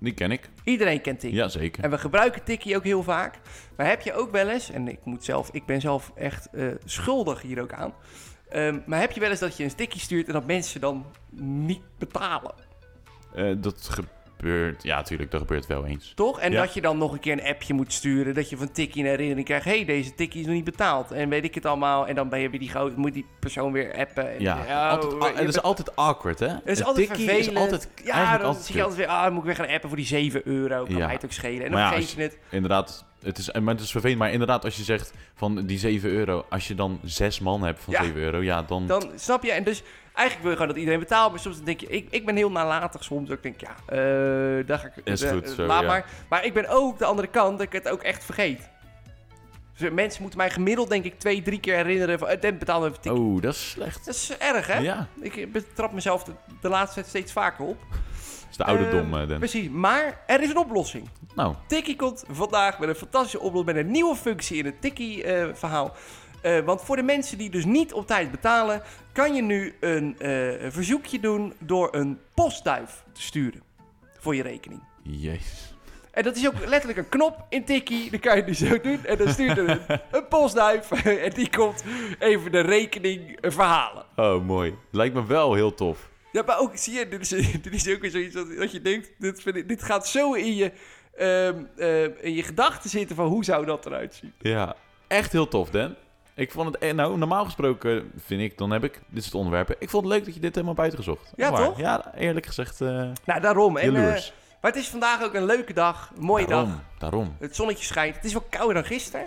Speaker 2: Die ken ik.
Speaker 1: Iedereen kent Tikkie.
Speaker 2: Jazeker.
Speaker 1: En we gebruiken Tikkie ook heel vaak. Maar heb je ook wel eens, en ik, moet zelf, ik ben zelf echt eh, schuldig hier ook aan. ehm, maar heb je wel eens dat je een Tikkie stuurt en dat mensen dan niet betalen?
Speaker 2: Eh, dat gebeurt... Ja, tuurlijk, dat gebeurt wel eens.
Speaker 1: Toch? En
Speaker 2: Ja.
Speaker 1: dat je dan nog een keer een appje moet sturen. Dat je van Tikkie een herinnering krijgt. hey, deze Tikkie is nog niet betaald. En weet ik het allemaal. En dan ben je weer die goud, moet die persoon weer appen. En-
Speaker 2: Ja,
Speaker 1: oh,
Speaker 2: altijd,
Speaker 1: je
Speaker 2: ah, het is
Speaker 1: bent-
Speaker 2: altijd awkward, hè?
Speaker 1: het is
Speaker 2: Een
Speaker 1: altijd
Speaker 2: tikkie
Speaker 1: vervelend.
Speaker 2: is altijd
Speaker 1: ja,
Speaker 2: eigenlijk
Speaker 1: dan zie je
Speaker 2: altijd
Speaker 1: altijd weer, ah, dan moet ik weer gaan appen voor die 7 euro. Kan
Speaker 2: Ja.
Speaker 1: mij het ook schelen. En
Speaker 2: Maar
Speaker 1: dan
Speaker 2: ja,
Speaker 1: vergeet
Speaker 2: als
Speaker 1: je het.
Speaker 2: kut. Inderdaad, het is, maar het is vervelend. Maar inderdaad, als je zegt van die 7 euro... Als je dan 6 man hebt van
Speaker 1: Ja.
Speaker 2: 7 euro, ja, dan...
Speaker 1: Dan snap je. En dus eigenlijk wil je gewoon dat iedereen betaalt. Maar soms dan denk je, ik, ik ben heel nalatig soms. Ik denk, ja, eh daar ga ik.
Speaker 2: Is
Speaker 1: eh,
Speaker 2: goed
Speaker 1: eh,
Speaker 2: zo,
Speaker 1: laat
Speaker 2: ja.
Speaker 1: maar. Maar ik ben ook de andere kant dat ik het ook echt vergeet. Dus mensen moeten mij gemiddeld, denk ik, twee, drie keer herinneren. Van, eh, dan betaal even tikkie.
Speaker 2: Oh, dat is slecht.
Speaker 1: Dat is erg, hè?
Speaker 2: Ja,
Speaker 1: Ik betrap mezelf de, de laatste tijd steeds vaker op.
Speaker 2: dat is de ouderdom,
Speaker 1: Eh,
Speaker 2: eh, Den.
Speaker 1: Precies, maar er is een oplossing.
Speaker 2: Nou,
Speaker 1: Tikkie komt vandaag met een fantastische oplossing, met een nieuwe functie in het Tikkie-verhaal. Eh, want voor de mensen die dus niet op tijd betalen, kan je nu een eh, verzoekje doen door een postduif te sturen voor je rekening.
Speaker 2: jezus.
Speaker 1: En dat is ook letterlijk een knop in Tikkie. Dan kan je die zo doen. En dan stuurt er een, een postduif. En die komt even de rekening eh, verhalen.
Speaker 2: Oh, mooi. Lijkt me wel heel tof.
Speaker 1: Ja, maar ook, zie je, dit is, dit is ook weer zoiets dat, dat je denkt, dit, vind ik- dit gaat zo in je, ehm, ehm, in je gedachten zitten van hoe zou dat eruit zien.
Speaker 2: Ja, echt heel tof, Dan. Ik vond het, eh, nou, normaal gesproken vind ik, dan heb ik, dit is het onderwerp. Ik vond het leuk dat je dit helemaal buiten gezocht.
Speaker 1: Ja,
Speaker 2: Maar,
Speaker 1: toch?
Speaker 2: Ja, eerlijk gezegd, eh
Speaker 1: Nou, daarom. En, eh,
Speaker 2: jaloers.
Speaker 1: maar het is vandaag ook een leuke dag, een mooie
Speaker 2: daarom,
Speaker 1: dag.
Speaker 2: daarom.
Speaker 1: Het zonnetje schijnt. Het is wel kouder dan gisteren.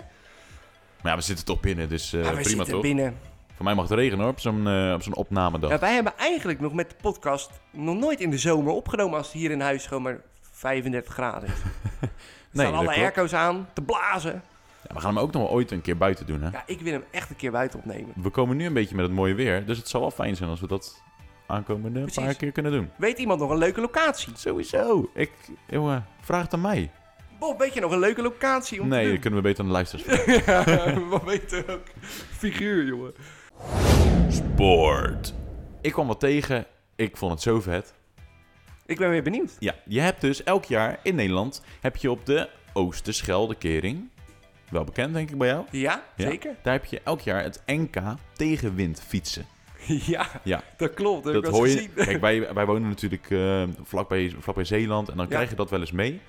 Speaker 2: Maar ja, we zitten toch binnen, dus eh,
Speaker 1: maar we
Speaker 2: prima
Speaker 1: zitten
Speaker 2: toch?
Speaker 1: binnen.
Speaker 2: Voor mij mag het regenen hoor, op zo'n eh, op zo'n opnamedag.
Speaker 1: Ja, wij hebben eigenlijk nog met de podcast nog nooit in de zomer opgenomen als het hier in huis gewoon maar 35 graden is. Er
Speaker 2: Nee,
Speaker 1: staan alle
Speaker 2: dat klopt.
Speaker 1: airco's aan, te blazen.
Speaker 2: Ja, we gaan hem ook nog wel ooit een keer buiten doen, hè?
Speaker 1: Ja, ik wil hem echt een keer buiten opnemen.
Speaker 2: We komen nu een beetje met het mooie weer, dus het zal wel fijn zijn als we dat aankomende
Speaker 1: Precies.
Speaker 2: paar keer kunnen doen.
Speaker 1: Weet iemand nog een leuke locatie?
Speaker 2: Sowieso. Ik, jongen, vraag het aan mij.
Speaker 1: Bob, weet je nog een leuke locatie om te
Speaker 2: Nee,
Speaker 1: doen?
Speaker 2: dat kunnen we beter aan de luisteraars vragen.
Speaker 1: Ja, wat beter ook. Figuur, jongen.
Speaker 2: Sport. Ik kwam wat tegen. Ik vond het zo vet.
Speaker 1: Ik ben weer benieuwd.
Speaker 2: Ja, je hebt dus elk jaar in Nederland heb je op de Oosterscheldekering, wel bekend denk ik bij jou.
Speaker 1: Ja,
Speaker 2: Ja.
Speaker 1: zeker.
Speaker 2: Daar heb je elk jaar het NK tegenwind fietsen.
Speaker 1: Ja,
Speaker 2: Ja.
Speaker 1: dat klopt. Dat,
Speaker 2: Dat
Speaker 1: heb ik wel
Speaker 2: hoor
Speaker 1: eens
Speaker 2: je.
Speaker 1: gezien.
Speaker 2: Kijk, wij, wij wonen natuurlijk eh, vlakbij, vlakbij Zeeland en dan
Speaker 1: Ja.
Speaker 2: krijg je dat wel eens mee.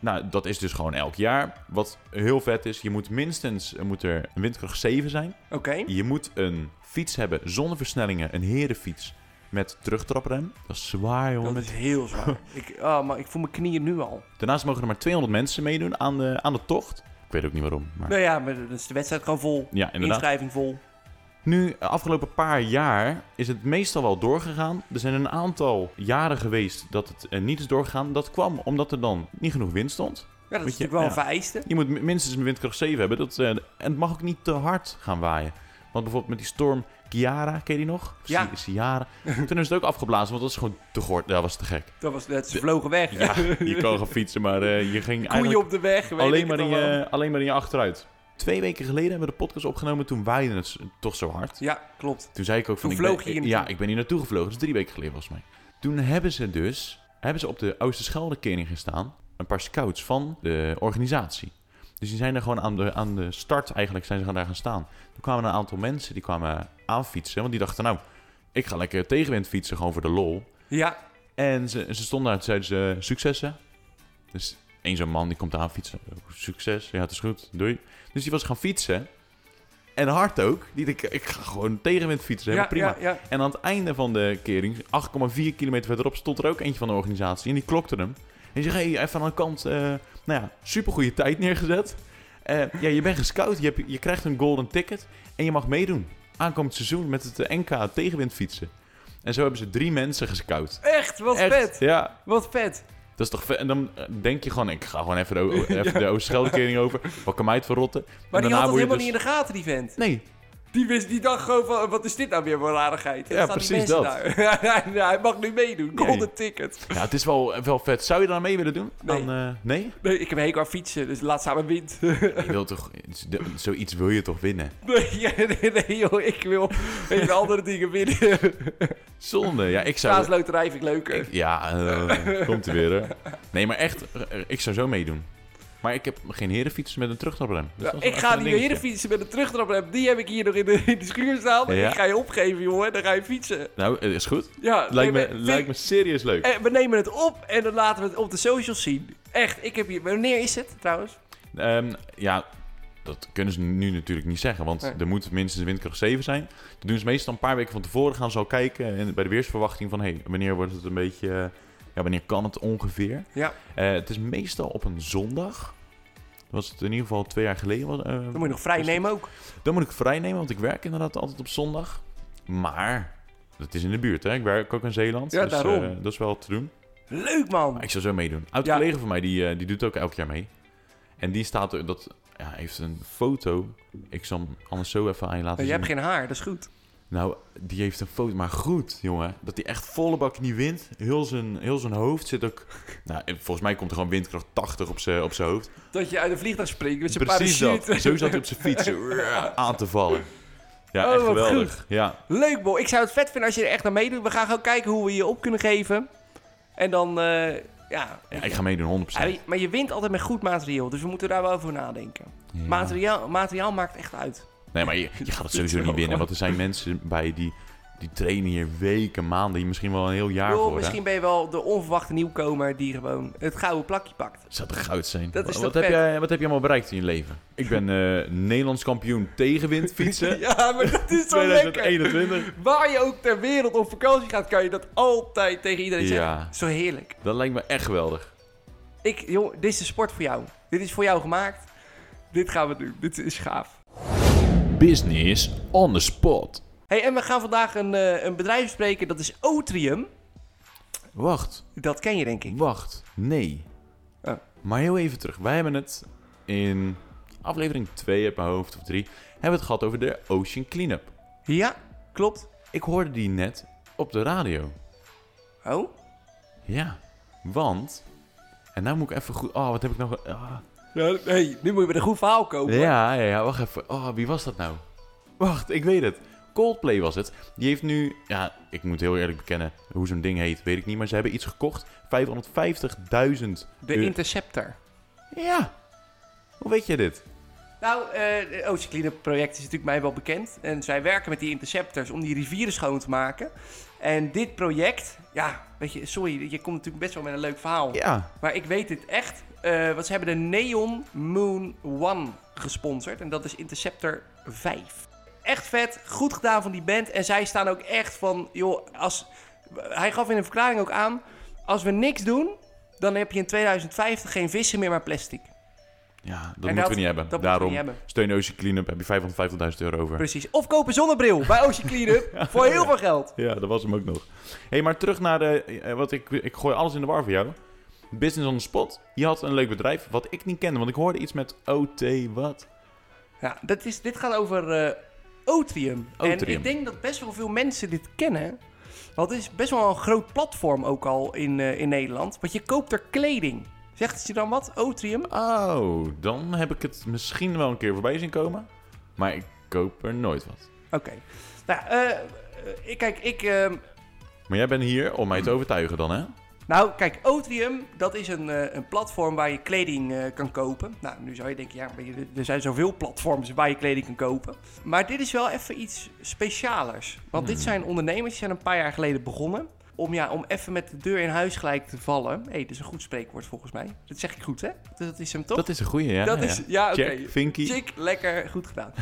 Speaker 2: Nou, dat is dus gewoon elk jaar. Wat heel vet is, je moet minstens eh, moet er een windkracht 7 zijn.
Speaker 1: Oké.
Speaker 2: Je moet een fiets hebben zonder versnellingen, een herenfiets met terugtraprem. Dat is zwaar, jongen.
Speaker 1: Dat
Speaker 2: met
Speaker 1: is heel zwaar. ik, oh, maar ik voel mijn knieën nu al.
Speaker 2: Daarnaast mogen er maar 200 mensen meedoen aan de, aan de tocht. Ik weet ook niet waarom. Maar...
Speaker 1: Nou ja, maar dan is de wedstrijd gewoon vol.
Speaker 2: Ja, inderdaad.
Speaker 1: Inschrijving vol.
Speaker 2: Nu, de afgelopen paar jaar is het meestal wel doorgegaan. Er zijn een aantal jaren geweest dat het eh, niet is doorgegaan. Dat kwam omdat er dan niet genoeg wind stond.
Speaker 1: Ja, dat
Speaker 2: Moet
Speaker 1: is
Speaker 2: je-
Speaker 1: natuurlijk wel een
Speaker 2: ja.
Speaker 1: vereiste.
Speaker 2: Je moet mi- minstens een windkracht 7 hebben. Dat, eh, en het mag ook niet te hard gaan waaien. Want Want bijvoorbeeld met die storm Kiara, ken je die nog? Of
Speaker 1: Ja.
Speaker 2: Si- Ciara. Toen is het ook afgeblazen, want dat is gewoon te gort. Dat was te gek.
Speaker 1: Dat was, dat ze vlogen weg.
Speaker 2: Ja, je kon gaan fietsen, maar eh, je ging
Speaker 1: Koeien
Speaker 2: eigenlijk
Speaker 1: op de weg. weet ik het
Speaker 2: alleen maar, eh, in
Speaker 1: allemaal.
Speaker 2: je, alleen maar in je achteruit. Twee weken geleden hebben we de podcast opgenomen, toen waaide het s- toch zo hard.
Speaker 1: Ja, klopt.
Speaker 2: Toen zei ik ook van...
Speaker 1: Toen
Speaker 2: ik
Speaker 1: vloog
Speaker 2: ben-
Speaker 1: je hier
Speaker 2: Ja,
Speaker 1: naartoe.
Speaker 2: ik ben hier naartoe gevlogen. Dat is drie weken geleden volgens mij. Toen hebben ze dus hebben ze op de Oosterscheldekering gestaan. Een paar scouts van de organisatie. Dus die zijn er gewoon aan de, aan de start eigenlijk zijn ze gewoon daar gaan staan. Toen kwamen een aantal mensen die kwamen aanfietsen. Want die dachten nou, ik ga lekker tegenwind fietsen gewoon voor de lol.
Speaker 1: Ja,
Speaker 2: En ze, ze stonden daar en zeiden ze eh, successen. Dus één zo'n man die komt aan fietsen. Succes, ja het is goed, doei. Dus die was gaan fietsen. En hard ook. Die dacht, ik ga gewoon tegenwind fietsen,
Speaker 1: ja,
Speaker 2: helemaal prima.
Speaker 1: ja, ja.
Speaker 2: En aan het einde van de kering, 8,4 kilometer verderop, stond er ook eentje van de organisatie. En die klokte hem. En die zei, hey, even aan de kant, eh, nou ja, supergoeie tijd neergezet. Eh, ja, je bent gescout, je, hebt, je krijgt een golden ticket en je mag meedoen. Aankomend seizoen met het eh, NK tegenwind fietsen. En zo hebben ze drie mensen gescout.
Speaker 1: Echt, wat
Speaker 2: Echt,
Speaker 1: vet.
Speaker 2: Ja,
Speaker 1: Wat vet.
Speaker 2: dat is toch vet. En dan eh, denk je gewoon, ik ga gewoon even de, o- even de Oosterscheldekering over. Wat kan mij het verrotten?
Speaker 1: Maar die had
Speaker 2: daarna
Speaker 1: dat helemaal
Speaker 2: word
Speaker 1: niet
Speaker 2: je
Speaker 1: in de gaten, die vent.
Speaker 2: dus- Nee,
Speaker 1: Die, wist, die dacht gewoon van, wat is dit nou weer voor rarigheid? En
Speaker 2: Ja,
Speaker 1: staan die
Speaker 2: precies
Speaker 1: mensen daar. Ja, ja, hij mag nu meedoen.
Speaker 2: Nee.
Speaker 1: Golden ticket.
Speaker 2: ja, het is wel, eh, wel vet. Zou je daar mee willen doen?
Speaker 1: Nee.
Speaker 2: Dan, eh, nee?
Speaker 1: Nee, ik heb een hekel aan fietsen, dus laat samen wind.
Speaker 2: Je wilt toch, de- zoiets wil je toch winnen?
Speaker 1: Nee, ja, nee, nee, joh, ik wil hele andere dingen winnen.
Speaker 2: Zonde. Ja, ik zou...
Speaker 1: Staatsloterij vind ik leuker.
Speaker 2: Ja, eh, komt er weer. Hè. Nee, maar echt, eh, ik zou zo meedoen. Maar ik heb geen herenfiets met een terugtraprem. Dus
Speaker 1: Ja,
Speaker 2: dat is
Speaker 1: ik
Speaker 2: wel
Speaker 1: ga
Speaker 2: echt een
Speaker 1: die
Speaker 2: dingetje.
Speaker 1: hele fietsen met een terugtrap. Die heb ik hier nog in de, in de schuur staan. maar
Speaker 2: Ja.
Speaker 1: Ik ga je opgeven, jongen. Dan ga je fietsen.
Speaker 2: Nou, eh, is goed.
Speaker 1: Ja,
Speaker 2: Lijkt
Speaker 1: nee,
Speaker 2: me,
Speaker 1: maar-
Speaker 2: lijkt me serieus leuk.
Speaker 1: Eh, We nemen het op en dan laten we het op de socials zien. Echt, ik heb hier... Wanneer is het trouwens?
Speaker 2: Ehm, ja, dat kunnen ze nu natuurlijk niet zeggen, want
Speaker 1: Nee.
Speaker 2: er moet minstens windkracht 7 zijn. Dat doen ze meestal een paar weken van tevoren, gaan ze al kijken en bij de weersverwachting van, hé, hey, wanneer wordt het een beetje, eh, ja, wanneer kan het ongeveer?
Speaker 1: Ja.
Speaker 2: Eh, het is meestal op een zondag. Dat was het in ieder geval twee jaar geleden. wat, eh,
Speaker 1: Dan moet je nog vrij
Speaker 2: was-
Speaker 1: nemen ook.
Speaker 2: Dan moet ik vrij nemen, want ik werk inderdaad altijd op zondag. Maar, dat is in de buurt, hè. Ik werk ook in Zeeland,
Speaker 1: Ja,
Speaker 2: dus eh,
Speaker 1: daarom.
Speaker 2: dat is wel te doen.
Speaker 1: Leuk,
Speaker 2: Maar
Speaker 1: man.
Speaker 2: ik zou zo meedoen. Oud
Speaker 1: Ja.
Speaker 2: collega van mij, die, eh, die doet ook elk jaar mee. En die staat er, dat ja, heeft een foto. Ik zal hem anders zo even aan je laten
Speaker 1: Je
Speaker 2: zien.
Speaker 1: hebt geen haar, dat is goed.
Speaker 2: Nou, die heeft een foto, maar goed, jongen. Dat hij echt volle bak niet wint. Heel zijn, heel zijn hoofd zit ook... Nou, en volgens mij komt er gewoon windkracht 80 op zijn op zijn hoofd.
Speaker 1: Dat je uit een vliegtuig springt met zijn
Speaker 2: Precies dat.
Speaker 1: parachute.
Speaker 2: Zo zat hij op zijn fiets eh, aan te vallen. Ja,
Speaker 1: Oh,
Speaker 2: echt
Speaker 1: wat
Speaker 2: geweldig. Ja,
Speaker 1: Leuk, bol. Ik zou het vet vinden als je er echt aan meedoet. We gaan gewoon kijken hoe we je op kunnen geven. En dan, eh, ja...
Speaker 2: ja, ik ga meedoen, 100%.
Speaker 1: Ja, maar je- maar je wint altijd met goed materiaal, dus we moeten daar wel over nadenken.
Speaker 2: Ja.
Speaker 1: Materiaal, materiaal maakt echt uit.
Speaker 2: Nee, maar je, je gaat het sowieso niet winnen. Want er zijn mensen bij die, die trainen hier weken, maanden, hier misschien wel een heel jaar
Speaker 1: Joh,
Speaker 2: voor.
Speaker 1: misschien ben je wel de onverwachte nieuwkomer die gewoon het gouden plakje pakt.
Speaker 2: Hè? Zou toch goud zijn?
Speaker 1: Dat is
Speaker 2: wat,
Speaker 1: toch
Speaker 2: heb
Speaker 1: vet?
Speaker 2: jij, wat heb je allemaal bereikt in je leven? Ik ben eh, Nederlands kampioen tegenwind fietsen.
Speaker 1: Ja, maar dat is zo lekker.
Speaker 2: 2021.
Speaker 1: Waar je ook ter wereld op vakantie gaat, kan je dat altijd tegen iedereen
Speaker 2: Ja,
Speaker 1: zeggen. Zo heerlijk.
Speaker 2: dat lijkt me echt geweldig.
Speaker 1: Ik, joh, dit is de sport voor jou. Dit is voor jou gemaakt. Dit gaan we doen. Dit is gaaf.
Speaker 2: Business on the spot.
Speaker 1: Hey, en we gaan vandaag een, eh, een bedrijf bespreken, dat is Otrium.
Speaker 2: Wacht,
Speaker 1: Dat ken je denk ik.
Speaker 2: wacht. Nee.
Speaker 1: Oh.
Speaker 2: Maar heel even terug. Wij hebben het in aflevering 2 uit mijn hoofd of 3 hebben we het gehad over de Ocean Cleanup.
Speaker 1: Ja, klopt.
Speaker 2: Ik hoorde die net op de radio.
Speaker 1: Oh,
Speaker 2: Ja, want. En nou moet ik even goed. Oh, wat heb ik nog. ah.
Speaker 1: Ja, hey, nu moet je met een goed verhaal komen.
Speaker 2: Ja, ja, ja, wacht even. Oh, wie was dat nou? Wacht, ik weet het. Coldplay was het. Die heeft nu. Ja, ik moet heel eerlijk bekennen. Hoe zo'n ding heet, weet ik niet. Maar ze hebben iets gekocht. 550.000.
Speaker 1: De
Speaker 2: euro.
Speaker 1: Interceptor.
Speaker 2: Ja. Hoe weet jij dit?
Speaker 1: Nou, eh, het Ocean Cleanup project is natuurlijk mij wel bekend. En zij werken met die interceptors om die rivieren schoon te maken. En dit project, ja, weet je, sorry, je komt natuurlijk best wel met een leuk verhaal.
Speaker 2: Ja.
Speaker 1: Maar ik weet dit echt, eh, want ze hebben de Neon Moon One gesponsord. En dat is Interceptor 5. Echt vet, goed gedaan van die band. En zij staan ook echt van, joh, als... Hij gaf in een verklaring ook aan, als we niks doen, dan heb je in 2050 geen vissen meer, maar plastic.
Speaker 2: Ja, dat
Speaker 1: En
Speaker 2: moeten we niet hebben.
Speaker 1: dat moeten we
Speaker 2: Daarom
Speaker 1: niet hebben.
Speaker 2: steun Ocean Cleanup. Heb je 550.000 euro over.
Speaker 1: Precies. Of koop een zonnebril bij Ocean Cleanup voor heel veel geld.
Speaker 2: Ja, dat was hem ook nog. Hé, hey, maar terug naar de... eh, wat ik, ik gooi alles in de war voor jou. Business on the spot. Je had een leuk bedrijf, wat ik niet kende. Want ik hoorde iets met OT, wat?
Speaker 1: Ja, dat is, dit gaat over eh, Otrium. En
Speaker 2: Otrium.
Speaker 1: ik denk dat best wel veel mensen dit kennen. Want het is best wel een groot platform ook al in, eh, in Nederland. Want je koopt er kleding. Zegt het je dan wat? Otrium?
Speaker 2: Oh, dan heb ik het misschien wel een keer voorbij zien komen. Maar ik koop er nooit wat.
Speaker 1: Oké. Nou, eh, eh, ik kijk, ik... ehm,
Speaker 2: Maar jij bent hier om mij te overtuigen dan, hè?
Speaker 1: Nou, kijk, Otrium, dat is een, eh, een platform waar je kleding eh, kan kopen. Nou, nu zou je denken, ja, maar je- er zijn zoveel platforms waar je kleding kan kopen. Maar dit is wel even iets specialers. Want dit zijn ondernemers, die zijn een paar jaar geleden begonnen. Om, ja, om even met de deur in huis gelijk te vallen. Hé, dat is een goed spreekwoord volgens mij. Dat zeg ik goed, hè? Dat is hem toch?
Speaker 2: Dat is een goeie, ja.
Speaker 1: Dat
Speaker 2: ja.
Speaker 1: is, ja, oké.
Speaker 2: Check, Vinky.
Speaker 1: Chick, lekker, goed gedaan.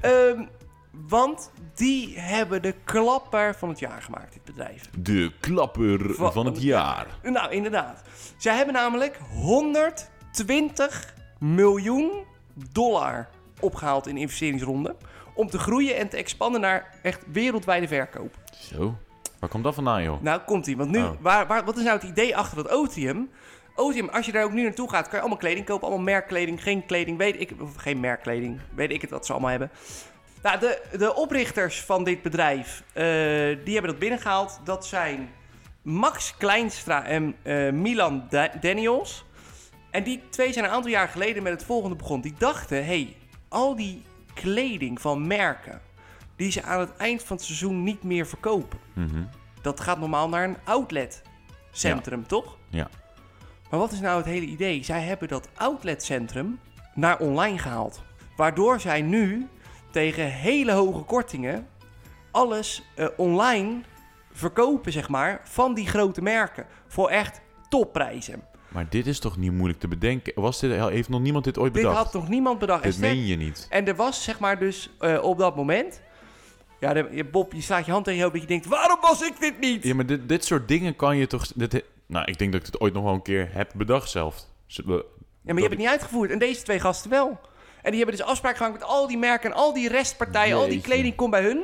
Speaker 1: Ehm, want die hebben de klapper van het jaar gemaakt, dit bedrijf.
Speaker 2: De klapper
Speaker 1: Va-
Speaker 2: van het jaar.
Speaker 1: Nou, inderdaad. Zij hebben namelijk 120 miljoen dollar opgehaald in investeringsronden. Om te groeien en te expanden naar echt wereldwijde verkoop.
Speaker 2: Zo, waar komt dat vandaan, joh?
Speaker 1: Nou, komt ie. Want nu,
Speaker 2: Oh.
Speaker 1: waar, waar, wat is nou het idee achter dat Otium? Otium, als je daar ook nu naartoe gaat, kan je allemaal kleding kopen. Allemaal merkkleding, geen kleding, weet ik. Of geen merkkleding, weet ik het wat ze allemaal hebben. Nou, de, de oprichters van dit bedrijf, eh, die hebben dat binnengehaald. Dat zijn Max Kleinstra en eh, Milan Da- Daniels. En die twee zijn een aantal jaar geleden met het volgende begonnen. Die dachten, hey, al die kleding van merken... die ze aan het eind van het seizoen niet meer verkopen
Speaker 2: Mhm.
Speaker 1: dat gaat normaal naar een outletcentrum, toch?
Speaker 2: Ja.
Speaker 1: Maar wat is nou het hele idee? Zij hebben dat outletcentrum naar online gehaald. Waardoor zij nu tegen hele hoge kortingen alles eh, online verkopen, zeg maar, van die grote merken. Voor echt topprijzen.
Speaker 2: Maar dit is toch niet moeilijk te bedenken? Was dit, heeft nog niemand dit ooit
Speaker 1: Dit
Speaker 2: bedacht?
Speaker 1: had nog niemand bedacht. En
Speaker 2: Dit
Speaker 1: sterk-
Speaker 2: meen je niet.
Speaker 1: En er was zeg maar dus eh, op dat moment... Ja, de- je- Bob, je slaat je hand tegen je hoofd dat je denkt... Waarom was ik dit niet?
Speaker 2: Ja, maar dit, dit soort dingen kan je toch... Dit, nou, ik denk dat ik dit ooit nog wel een keer heb bedacht zelf. Z- we-
Speaker 1: Ja, maar je hebt het niet uitgevoerd. En deze twee gasten wel. En die hebben dus afspraak gemaakt met al die merken en al die restpartijen. Al die
Speaker 2: Jeetje.
Speaker 1: kleding komt bij hun.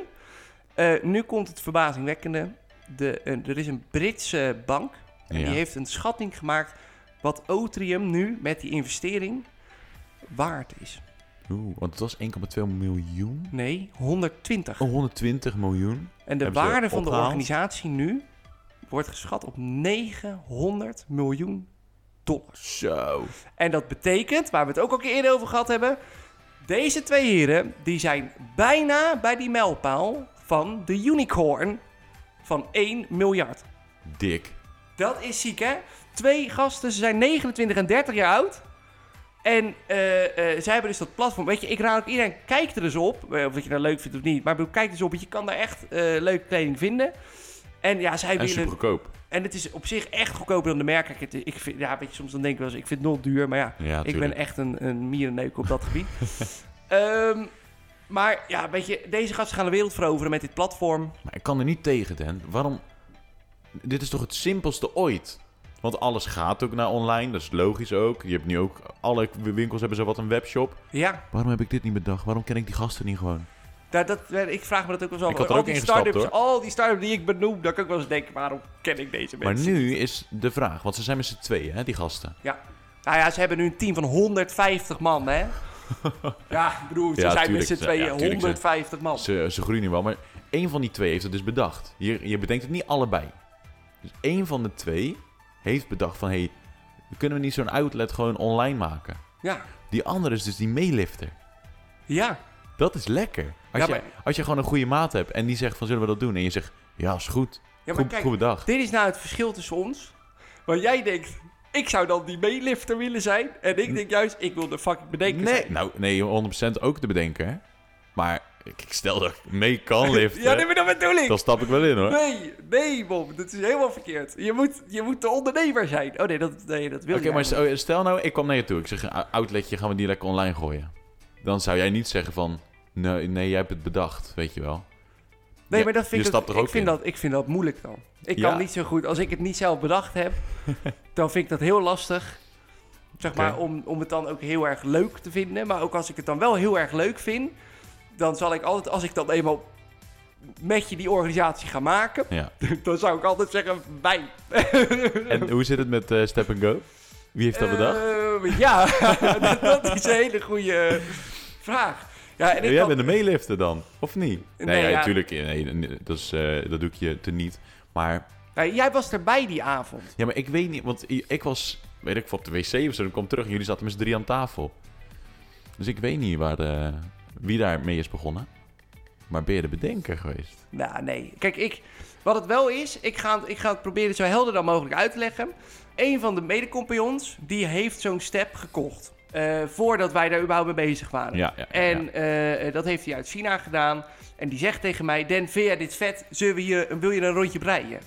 Speaker 1: Eh, nu komt het verbazingwekkende. De, eh, er is een Britse bank. En
Speaker 2: Ja.
Speaker 1: die heeft een schatting gemaakt wat Otrium nu met die investering waard is.
Speaker 2: Oeh, want het was 1,2 miljoen.
Speaker 1: Nee, 120.
Speaker 2: Oh, 120 miljoen.
Speaker 1: en de
Speaker 2: hebben ze
Speaker 1: waarde van de
Speaker 2: opgehaald?
Speaker 1: organisatie nu wordt geschat op 900 miljoen dollar.
Speaker 2: Zo.
Speaker 1: En dat betekent, waar we het ook al een keer eerder over gehad hebben... Deze twee heren, die zijn bijna bij die mijlpaal van de unicorn van 1 miljard.
Speaker 2: Dik.
Speaker 1: Dat is ziek, hè? Twee gasten, ze zijn 29 en 30 jaar oud. En eh, eh, zij hebben dus dat platform. Weet je, ik raad ook iedereen, kijk er eens op. eh, Of dat je dat leuk vindt of niet. Maar ik bedoel, kijk er eens op, want je kan daar echt eh leuke kleding vinden. En ja, zij
Speaker 2: En
Speaker 1: willen...
Speaker 2: super goedkoop.
Speaker 1: En het is op zich echt goedkoper dan de merken. Kijk, het- Ik vind, ja, weet je, soms dan denk ik wel eens, ik vind het nog duur. Maar ja,
Speaker 2: Ja,
Speaker 1: ik ben
Speaker 2: tuurlijk.
Speaker 1: echt een, een mierenneuk op dat gebied. Ehm, maar ja, weet je, deze gasten gaan de wereld veroveren met dit platform.
Speaker 2: Maar ik kan er niet tegen, Dan. Waarom? Dit is toch het simpelste ooit? Want alles gaat ook naar online, dat is logisch ook. Je hebt nu ook, alle winkels hebben zo wat een webshop.
Speaker 1: Ja,
Speaker 2: Waarom heb ik dit niet bedacht? Waarom ken ik die gasten niet gewoon?
Speaker 1: daar, dat, eh, ik vraag me dat ook wel eens af.
Speaker 2: Ik had er
Speaker 1: al
Speaker 2: ook
Speaker 1: die
Speaker 2: in gestapt,
Speaker 1: startups,
Speaker 2: hoor.
Speaker 1: Al die start-ups die ik benoem, dan kan ik wel eens denken, waarom ken ik deze
Speaker 2: Maar
Speaker 1: mensen?
Speaker 2: nu is de vraag, want ze zijn met z'n tweeën, hè, die gasten.
Speaker 1: Ja. Nou ja, ze hebben nu een team van 150 man, hè? ja, ik bedoel, ze
Speaker 2: Ja,
Speaker 1: zijn
Speaker 2: tuurlijk,
Speaker 1: met z'n
Speaker 2: ze- ja,
Speaker 1: tweeën
Speaker 2: tuurlijk, ze-
Speaker 1: 150 man.
Speaker 2: Ze, ze groeien nu wel, maar één van die twee heeft het dus bedacht. Je, je bedenkt het niet allebei. Dus één van de twee heeft bedacht van, hé, hey, kunnen we niet zo'n outlet gewoon online maken?
Speaker 1: Ja,
Speaker 2: Die andere is dus die meelifter.
Speaker 1: ja.
Speaker 2: Dat is lekker. Als,
Speaker 1: Ja,
Speaker 2: je, als je gewoon een goede maat hebt en die zegt van zullen we dat doen? En je zegt ja, is goed.
Speaker 1: ja maar
Speaker 2: Goed,
Speaker 1: kijk,
Speaker 2: goede dag.
Speaker 1: Dit is nou het verschil tussen ons. Want jij denkt, ik zou dan die meelifter willen zijn. En ik denk juist, ik wil de fucking bedenken
Speaker 2: nee,
Speaker 1: zijn.
Speaker 2: nou, nee, 100% ook te bedenken. hè. Maar ik ik stel dat ik mee kan liften.
Speaker 1: Ja, nee, maar dat bedoel ik.
Speaker 2: Dan stap ik wel in hoor.
Speaker 1: Nee, nee, Bob. Dat is helemaal verkeerd. Je moet, je moet de ondernemer zijn. Oh nee, dat, nee, dat wil
Speaker 2: Oké,
Speaker 1: je
Speaker 2: maar
Speaker 1: eigenlijk
Speaker 2: stel, stel nou, ik kwam naar je toe. Ik zeg, "Ah, outletje, gaan we die lekker online gooien? Dan zou jij niet zeggen van, nee, nee jij hebt het bedacht, weet je wel.
Speaker 1: niet. Nee,
Speaker 2: ja,
Speaker 1: maar dat vind
Speaker 2: je
Speaker 1: ik,
Speaker 2: stapt
Speaker 1: dat,
Speaker 2: er ook
Speaker 1: ik vind
Speaker 2: in.
Speaker 1: dat Ik vind dat moeilijk dan. Ik
Speaker 2: Ja.
Speaker 1: kan niet zo goed. Als ik het niet zelf bedacht heb, dan vind ik dat heel lastig. Zeg maar,
Speaker 2: Oké.
Speaker 1: om, om het dan ook heel erg leuk te vinden. Maar ook als ik het dan wel heel erg leuk vind, dan zal ik altijd, als ik dan eenmaal met je die organisatie ga maken,
Speaker 2: Ja.
Speaker 1: Dan zou ik altijd zeggen, wij.
Speaker 2: En hoe zit het met eh, Step and Go?
Speaker 1: Ehm,
Speaker 2: Wie heeft dat bedacht?
Speaker 1: Eh, ja, dat is een hele goede vraag. Ja, Ja, en ik
Speaker 2: Jij
Speaker 1: kan-
Speaker 2: bent de meelifter dan, of niet? Nee,
Speaker 1: Nee, ja.
Speaker 2: natuurlijk. Nee, nee, dat, is, eh, dat doe ik je teniet. Maar,
Speaker 1: Nee, jij was erbij die avond.
Speaker 2: ja, maar ik weet niet, want i- ik was, weet ik, veel, op de wc of zo. Dan kwam terug en jullie zaten met z'n drie aan tafel. Dus ik weet niet waar de, wie daar mee is begonnen. Maar ben je de bedenker geweest?
Speaker 1: Nou, nee. Kijk, ik, wat het wel is, ik ga, het- ik ga het proberen zo helder dan mogelijk uit te leggen. Een van de medecompagnons, die heeft zo'n step gekocht. eh, voordat wij daar überhaupt mee bezig waren.
Speaker 2: Ja, ja,
Speaker 1: En
Speaker 2: ja.
Speaker 1: eh, dat heeft hij uit China gedaan. En die zegt tegen mij, Dan, vind jij dit vet? Zullen we hier, wil je een rondje breien?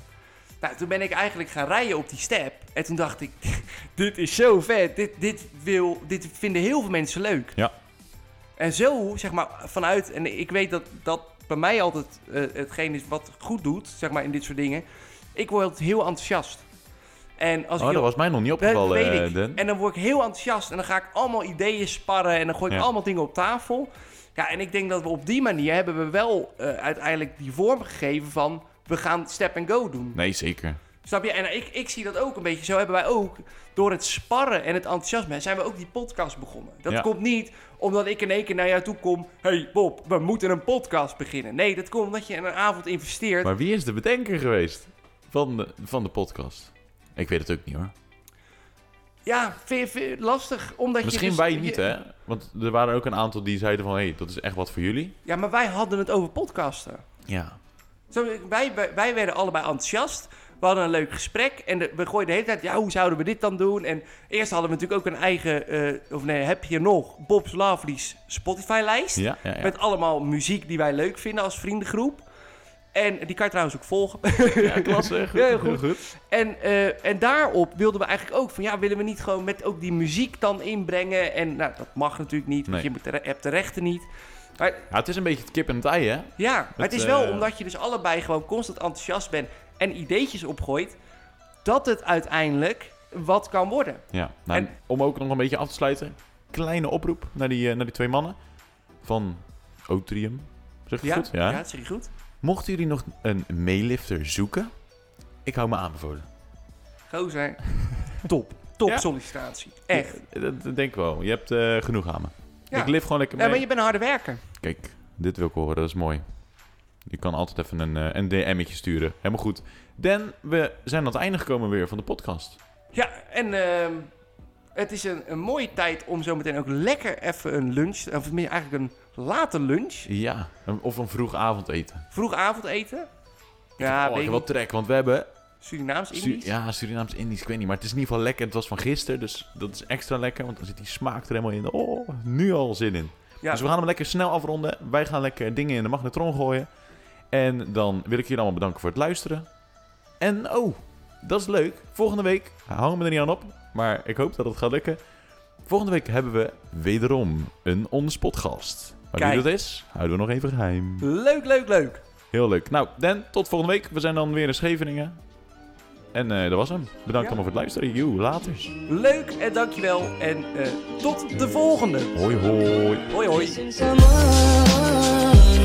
Speaker 1: Nou, toen ben ik eigenlijk gaan rijden op die step. En toen dacht ik, dit is zo vet. Dit, dit, wil, dit vinden heel veel mensen leuk.
Speaker 2: Ja.
Speaker 1: En zo, zeg maar, vanuit... En ik weet dat dat bij mij altijd eh, hetgeen is wat goed doet, zeg maar, in dit soort dingen. Ik word altijd heel enthousiast. En als
Speaker 2: Oh,
Speaker 1: ik
Speaker 2: dat
Speaker 1: heel-
Speaker 2: was mij nog niet
Speaker 1: dat
Speaker 2: opgevallen,
Speaker 1: weet
Speaker 2: eh,
Speaker 1: ik.
Speaker 2: Den.
Speaker 1: En dan word ik heel enthousiast en dan ga ik allemaal ideeën sparren en dan gooi ik
Speaker 2: Ja.
Speaker 1: allemaal dingen op tafel. Ja, en ik denk dat we op die manier hebben we wel eh, uiteindelijk die vorm gegeven van we gaan step and go doen.
Speaker 2: Nee, zeker.
Speaker 1: Snap je? En ik, ik zie dat ook een beetje. Zo hebben wij ook door het sparren en het enthousiasme zijn we ook die podcast begonnen. Dat
Speaker 2: Ja.
Speaker 1: komt niet omdat ik in één keer naar jou toe kom. hey Bob, we moeten een podcast beginnen. Nee, dat komt omdat je in een avond investeert.
Speaker 2: Maar wie is de bedenker geweest van de, van de podcast? Ik weet het ook niet hoor.
Speaker 1: Ja, vind je- vind je het lastig. Omdat je
Speaker 2: Misschien
Speaker 1: dus-
Speaker 2: wij
Speaker 1: je-
Speaker 2: niet, hè? Want er waren ook een aantal die zeiden van... hé, hey, dat is echt wat voor jullie.
Speaker 1: Ja, maar wij hadden het over podcasten.
Speaker 2: Ja.
Speaker 1: Zo, wij, wij, wij werden allebei enthousiast. We hadden een leuk gesprek en de- we gooiden de hele tijd, ja, hoe zouden we dit dan doen? En eerst hadden we natuurlijk ook een eigen, eh, of nee, heb je nog, Bob's Lovely's Spotify-lijst.
Speaker 2: Ja, ja, ja.
Speaker 1: Met allemaal muziek die wij leuk vinden als vriendengroep. En die kan je trouwens ook volgen.
Speaker 2: Ja, klasse. Goed,
Speaker 1: Ja,
Speaker 2: heel
Speaker 1: goed.
Speaker 2: goed.
Speaker 1: En, eh, en daarop wilden we eigenlijk ook van, ja, willen we niet gewoon met ook die muziek dan inbrengen? En nou, dat mag natuurlijk niet, want
Speaker 2: Nee.
Speaker 1: je moet de re- hebt de rechten niet.
Speaker 2: Ja, het is een beetje het kip en het ei, hè?
Speaker 1: Ja, maar het
Speaker 2: Het,
Speaker 1: is wel
Speaker 2: eh,
Speaker 1: omdat je dus allebei gewoon constant enthousiast bent en ideetjes opgooit, dat het uiteindelijk wat kan worden.
Speaker 2: Ja. Nou,
Speaker 1: En-
Speaker 2: Om ook nog een beetje af te sluiten. Kleine oproep naar die, eh, naar die twee mannen. Van Otrium. Zeg ik
Speaker 1: Ja,
Speaker 2: het goed? Ja.
Speaker 1: dat zeg je goed.
Speaker 2: Mochten jullie nog een meelifter zoeken... Ik hou me aanbevolen.
Speaker 1: Gozer, top. Top
Speaker 2: Ja.
Speaker 1: sollicitatie. Echt.
Speaker 2: Dat, dat denk ik wel. Je hebt eh, genoeg aan me.
Speaker 1: Ja.
Speaker 2: Ik leef gewoon lekker mee.
Speaker 1: Ja, maar je bent een harde werker.
Speaker 2: Kijk, dit wil ik horen, dat is mooi. Je kan altijd even een, eh, een DM'tje sturen. Helemaal goed. Dan, we zijn aan het einde gekomen weer van de podcast.
Speaker 1: Ja, en ehm, het is een, een mooie tijd om zo meteen ook lekker even een lunch, of meer eigenlijk een late lunch,
Speaker 2: Ja, een- of een vroeg avondeten.
Speaker 1: vroeg avondeten.
Speaker 2: oh,
Speaker 1: Ja,
Speaker 2: ik
Speaker 1: weet
Speaker 2: heb
Speaker 1: ik
Speaker 2: wel trek, want we hebben...
Speaker 1: niet. Surinaams-Indisch.
Speaker 2: Su- ja, Surinaams-Indisch, ik weet niet. Maar het is in ieder geval lekker. Het was van gisteren, dus dat is extra lekker. Want dan zit die smaak er helemaal in. Oh, nu al zin in.
Speaker 1: Ja.
Speaker 2: Dus we gaan hem lekker snel afronden. Wij gaan lekker dingen in de magnetron gooien. En dan wil ik jullie allemaal bedanken voor het luisteren. En oh, dat is leuk. Volgende week, hang me er niet aan op, maar ik hoop dat het gaat lukken. Volgende week hebben we wederom een on-spot gast. Maar
Speaker 1: Kijk.
Speaker 2: wie dat is, houden we nog even geheim.
Speaker 1: Leuk, leuk, leuk.
Speaker 2: Heel leuk. Nou, Dan, tot volgende week. We zijn dan weer in Scheveningen. En eh, dat was hem. Bedankt allemaal voor het luisteren. Joe, laters.
Speaker 1: Leuk en dankjewel. En eh, tot de volgende.
Speaker 2: Hoi, hoi.
Speaker 1: Hoi, hoi.
Speaker 3: Someone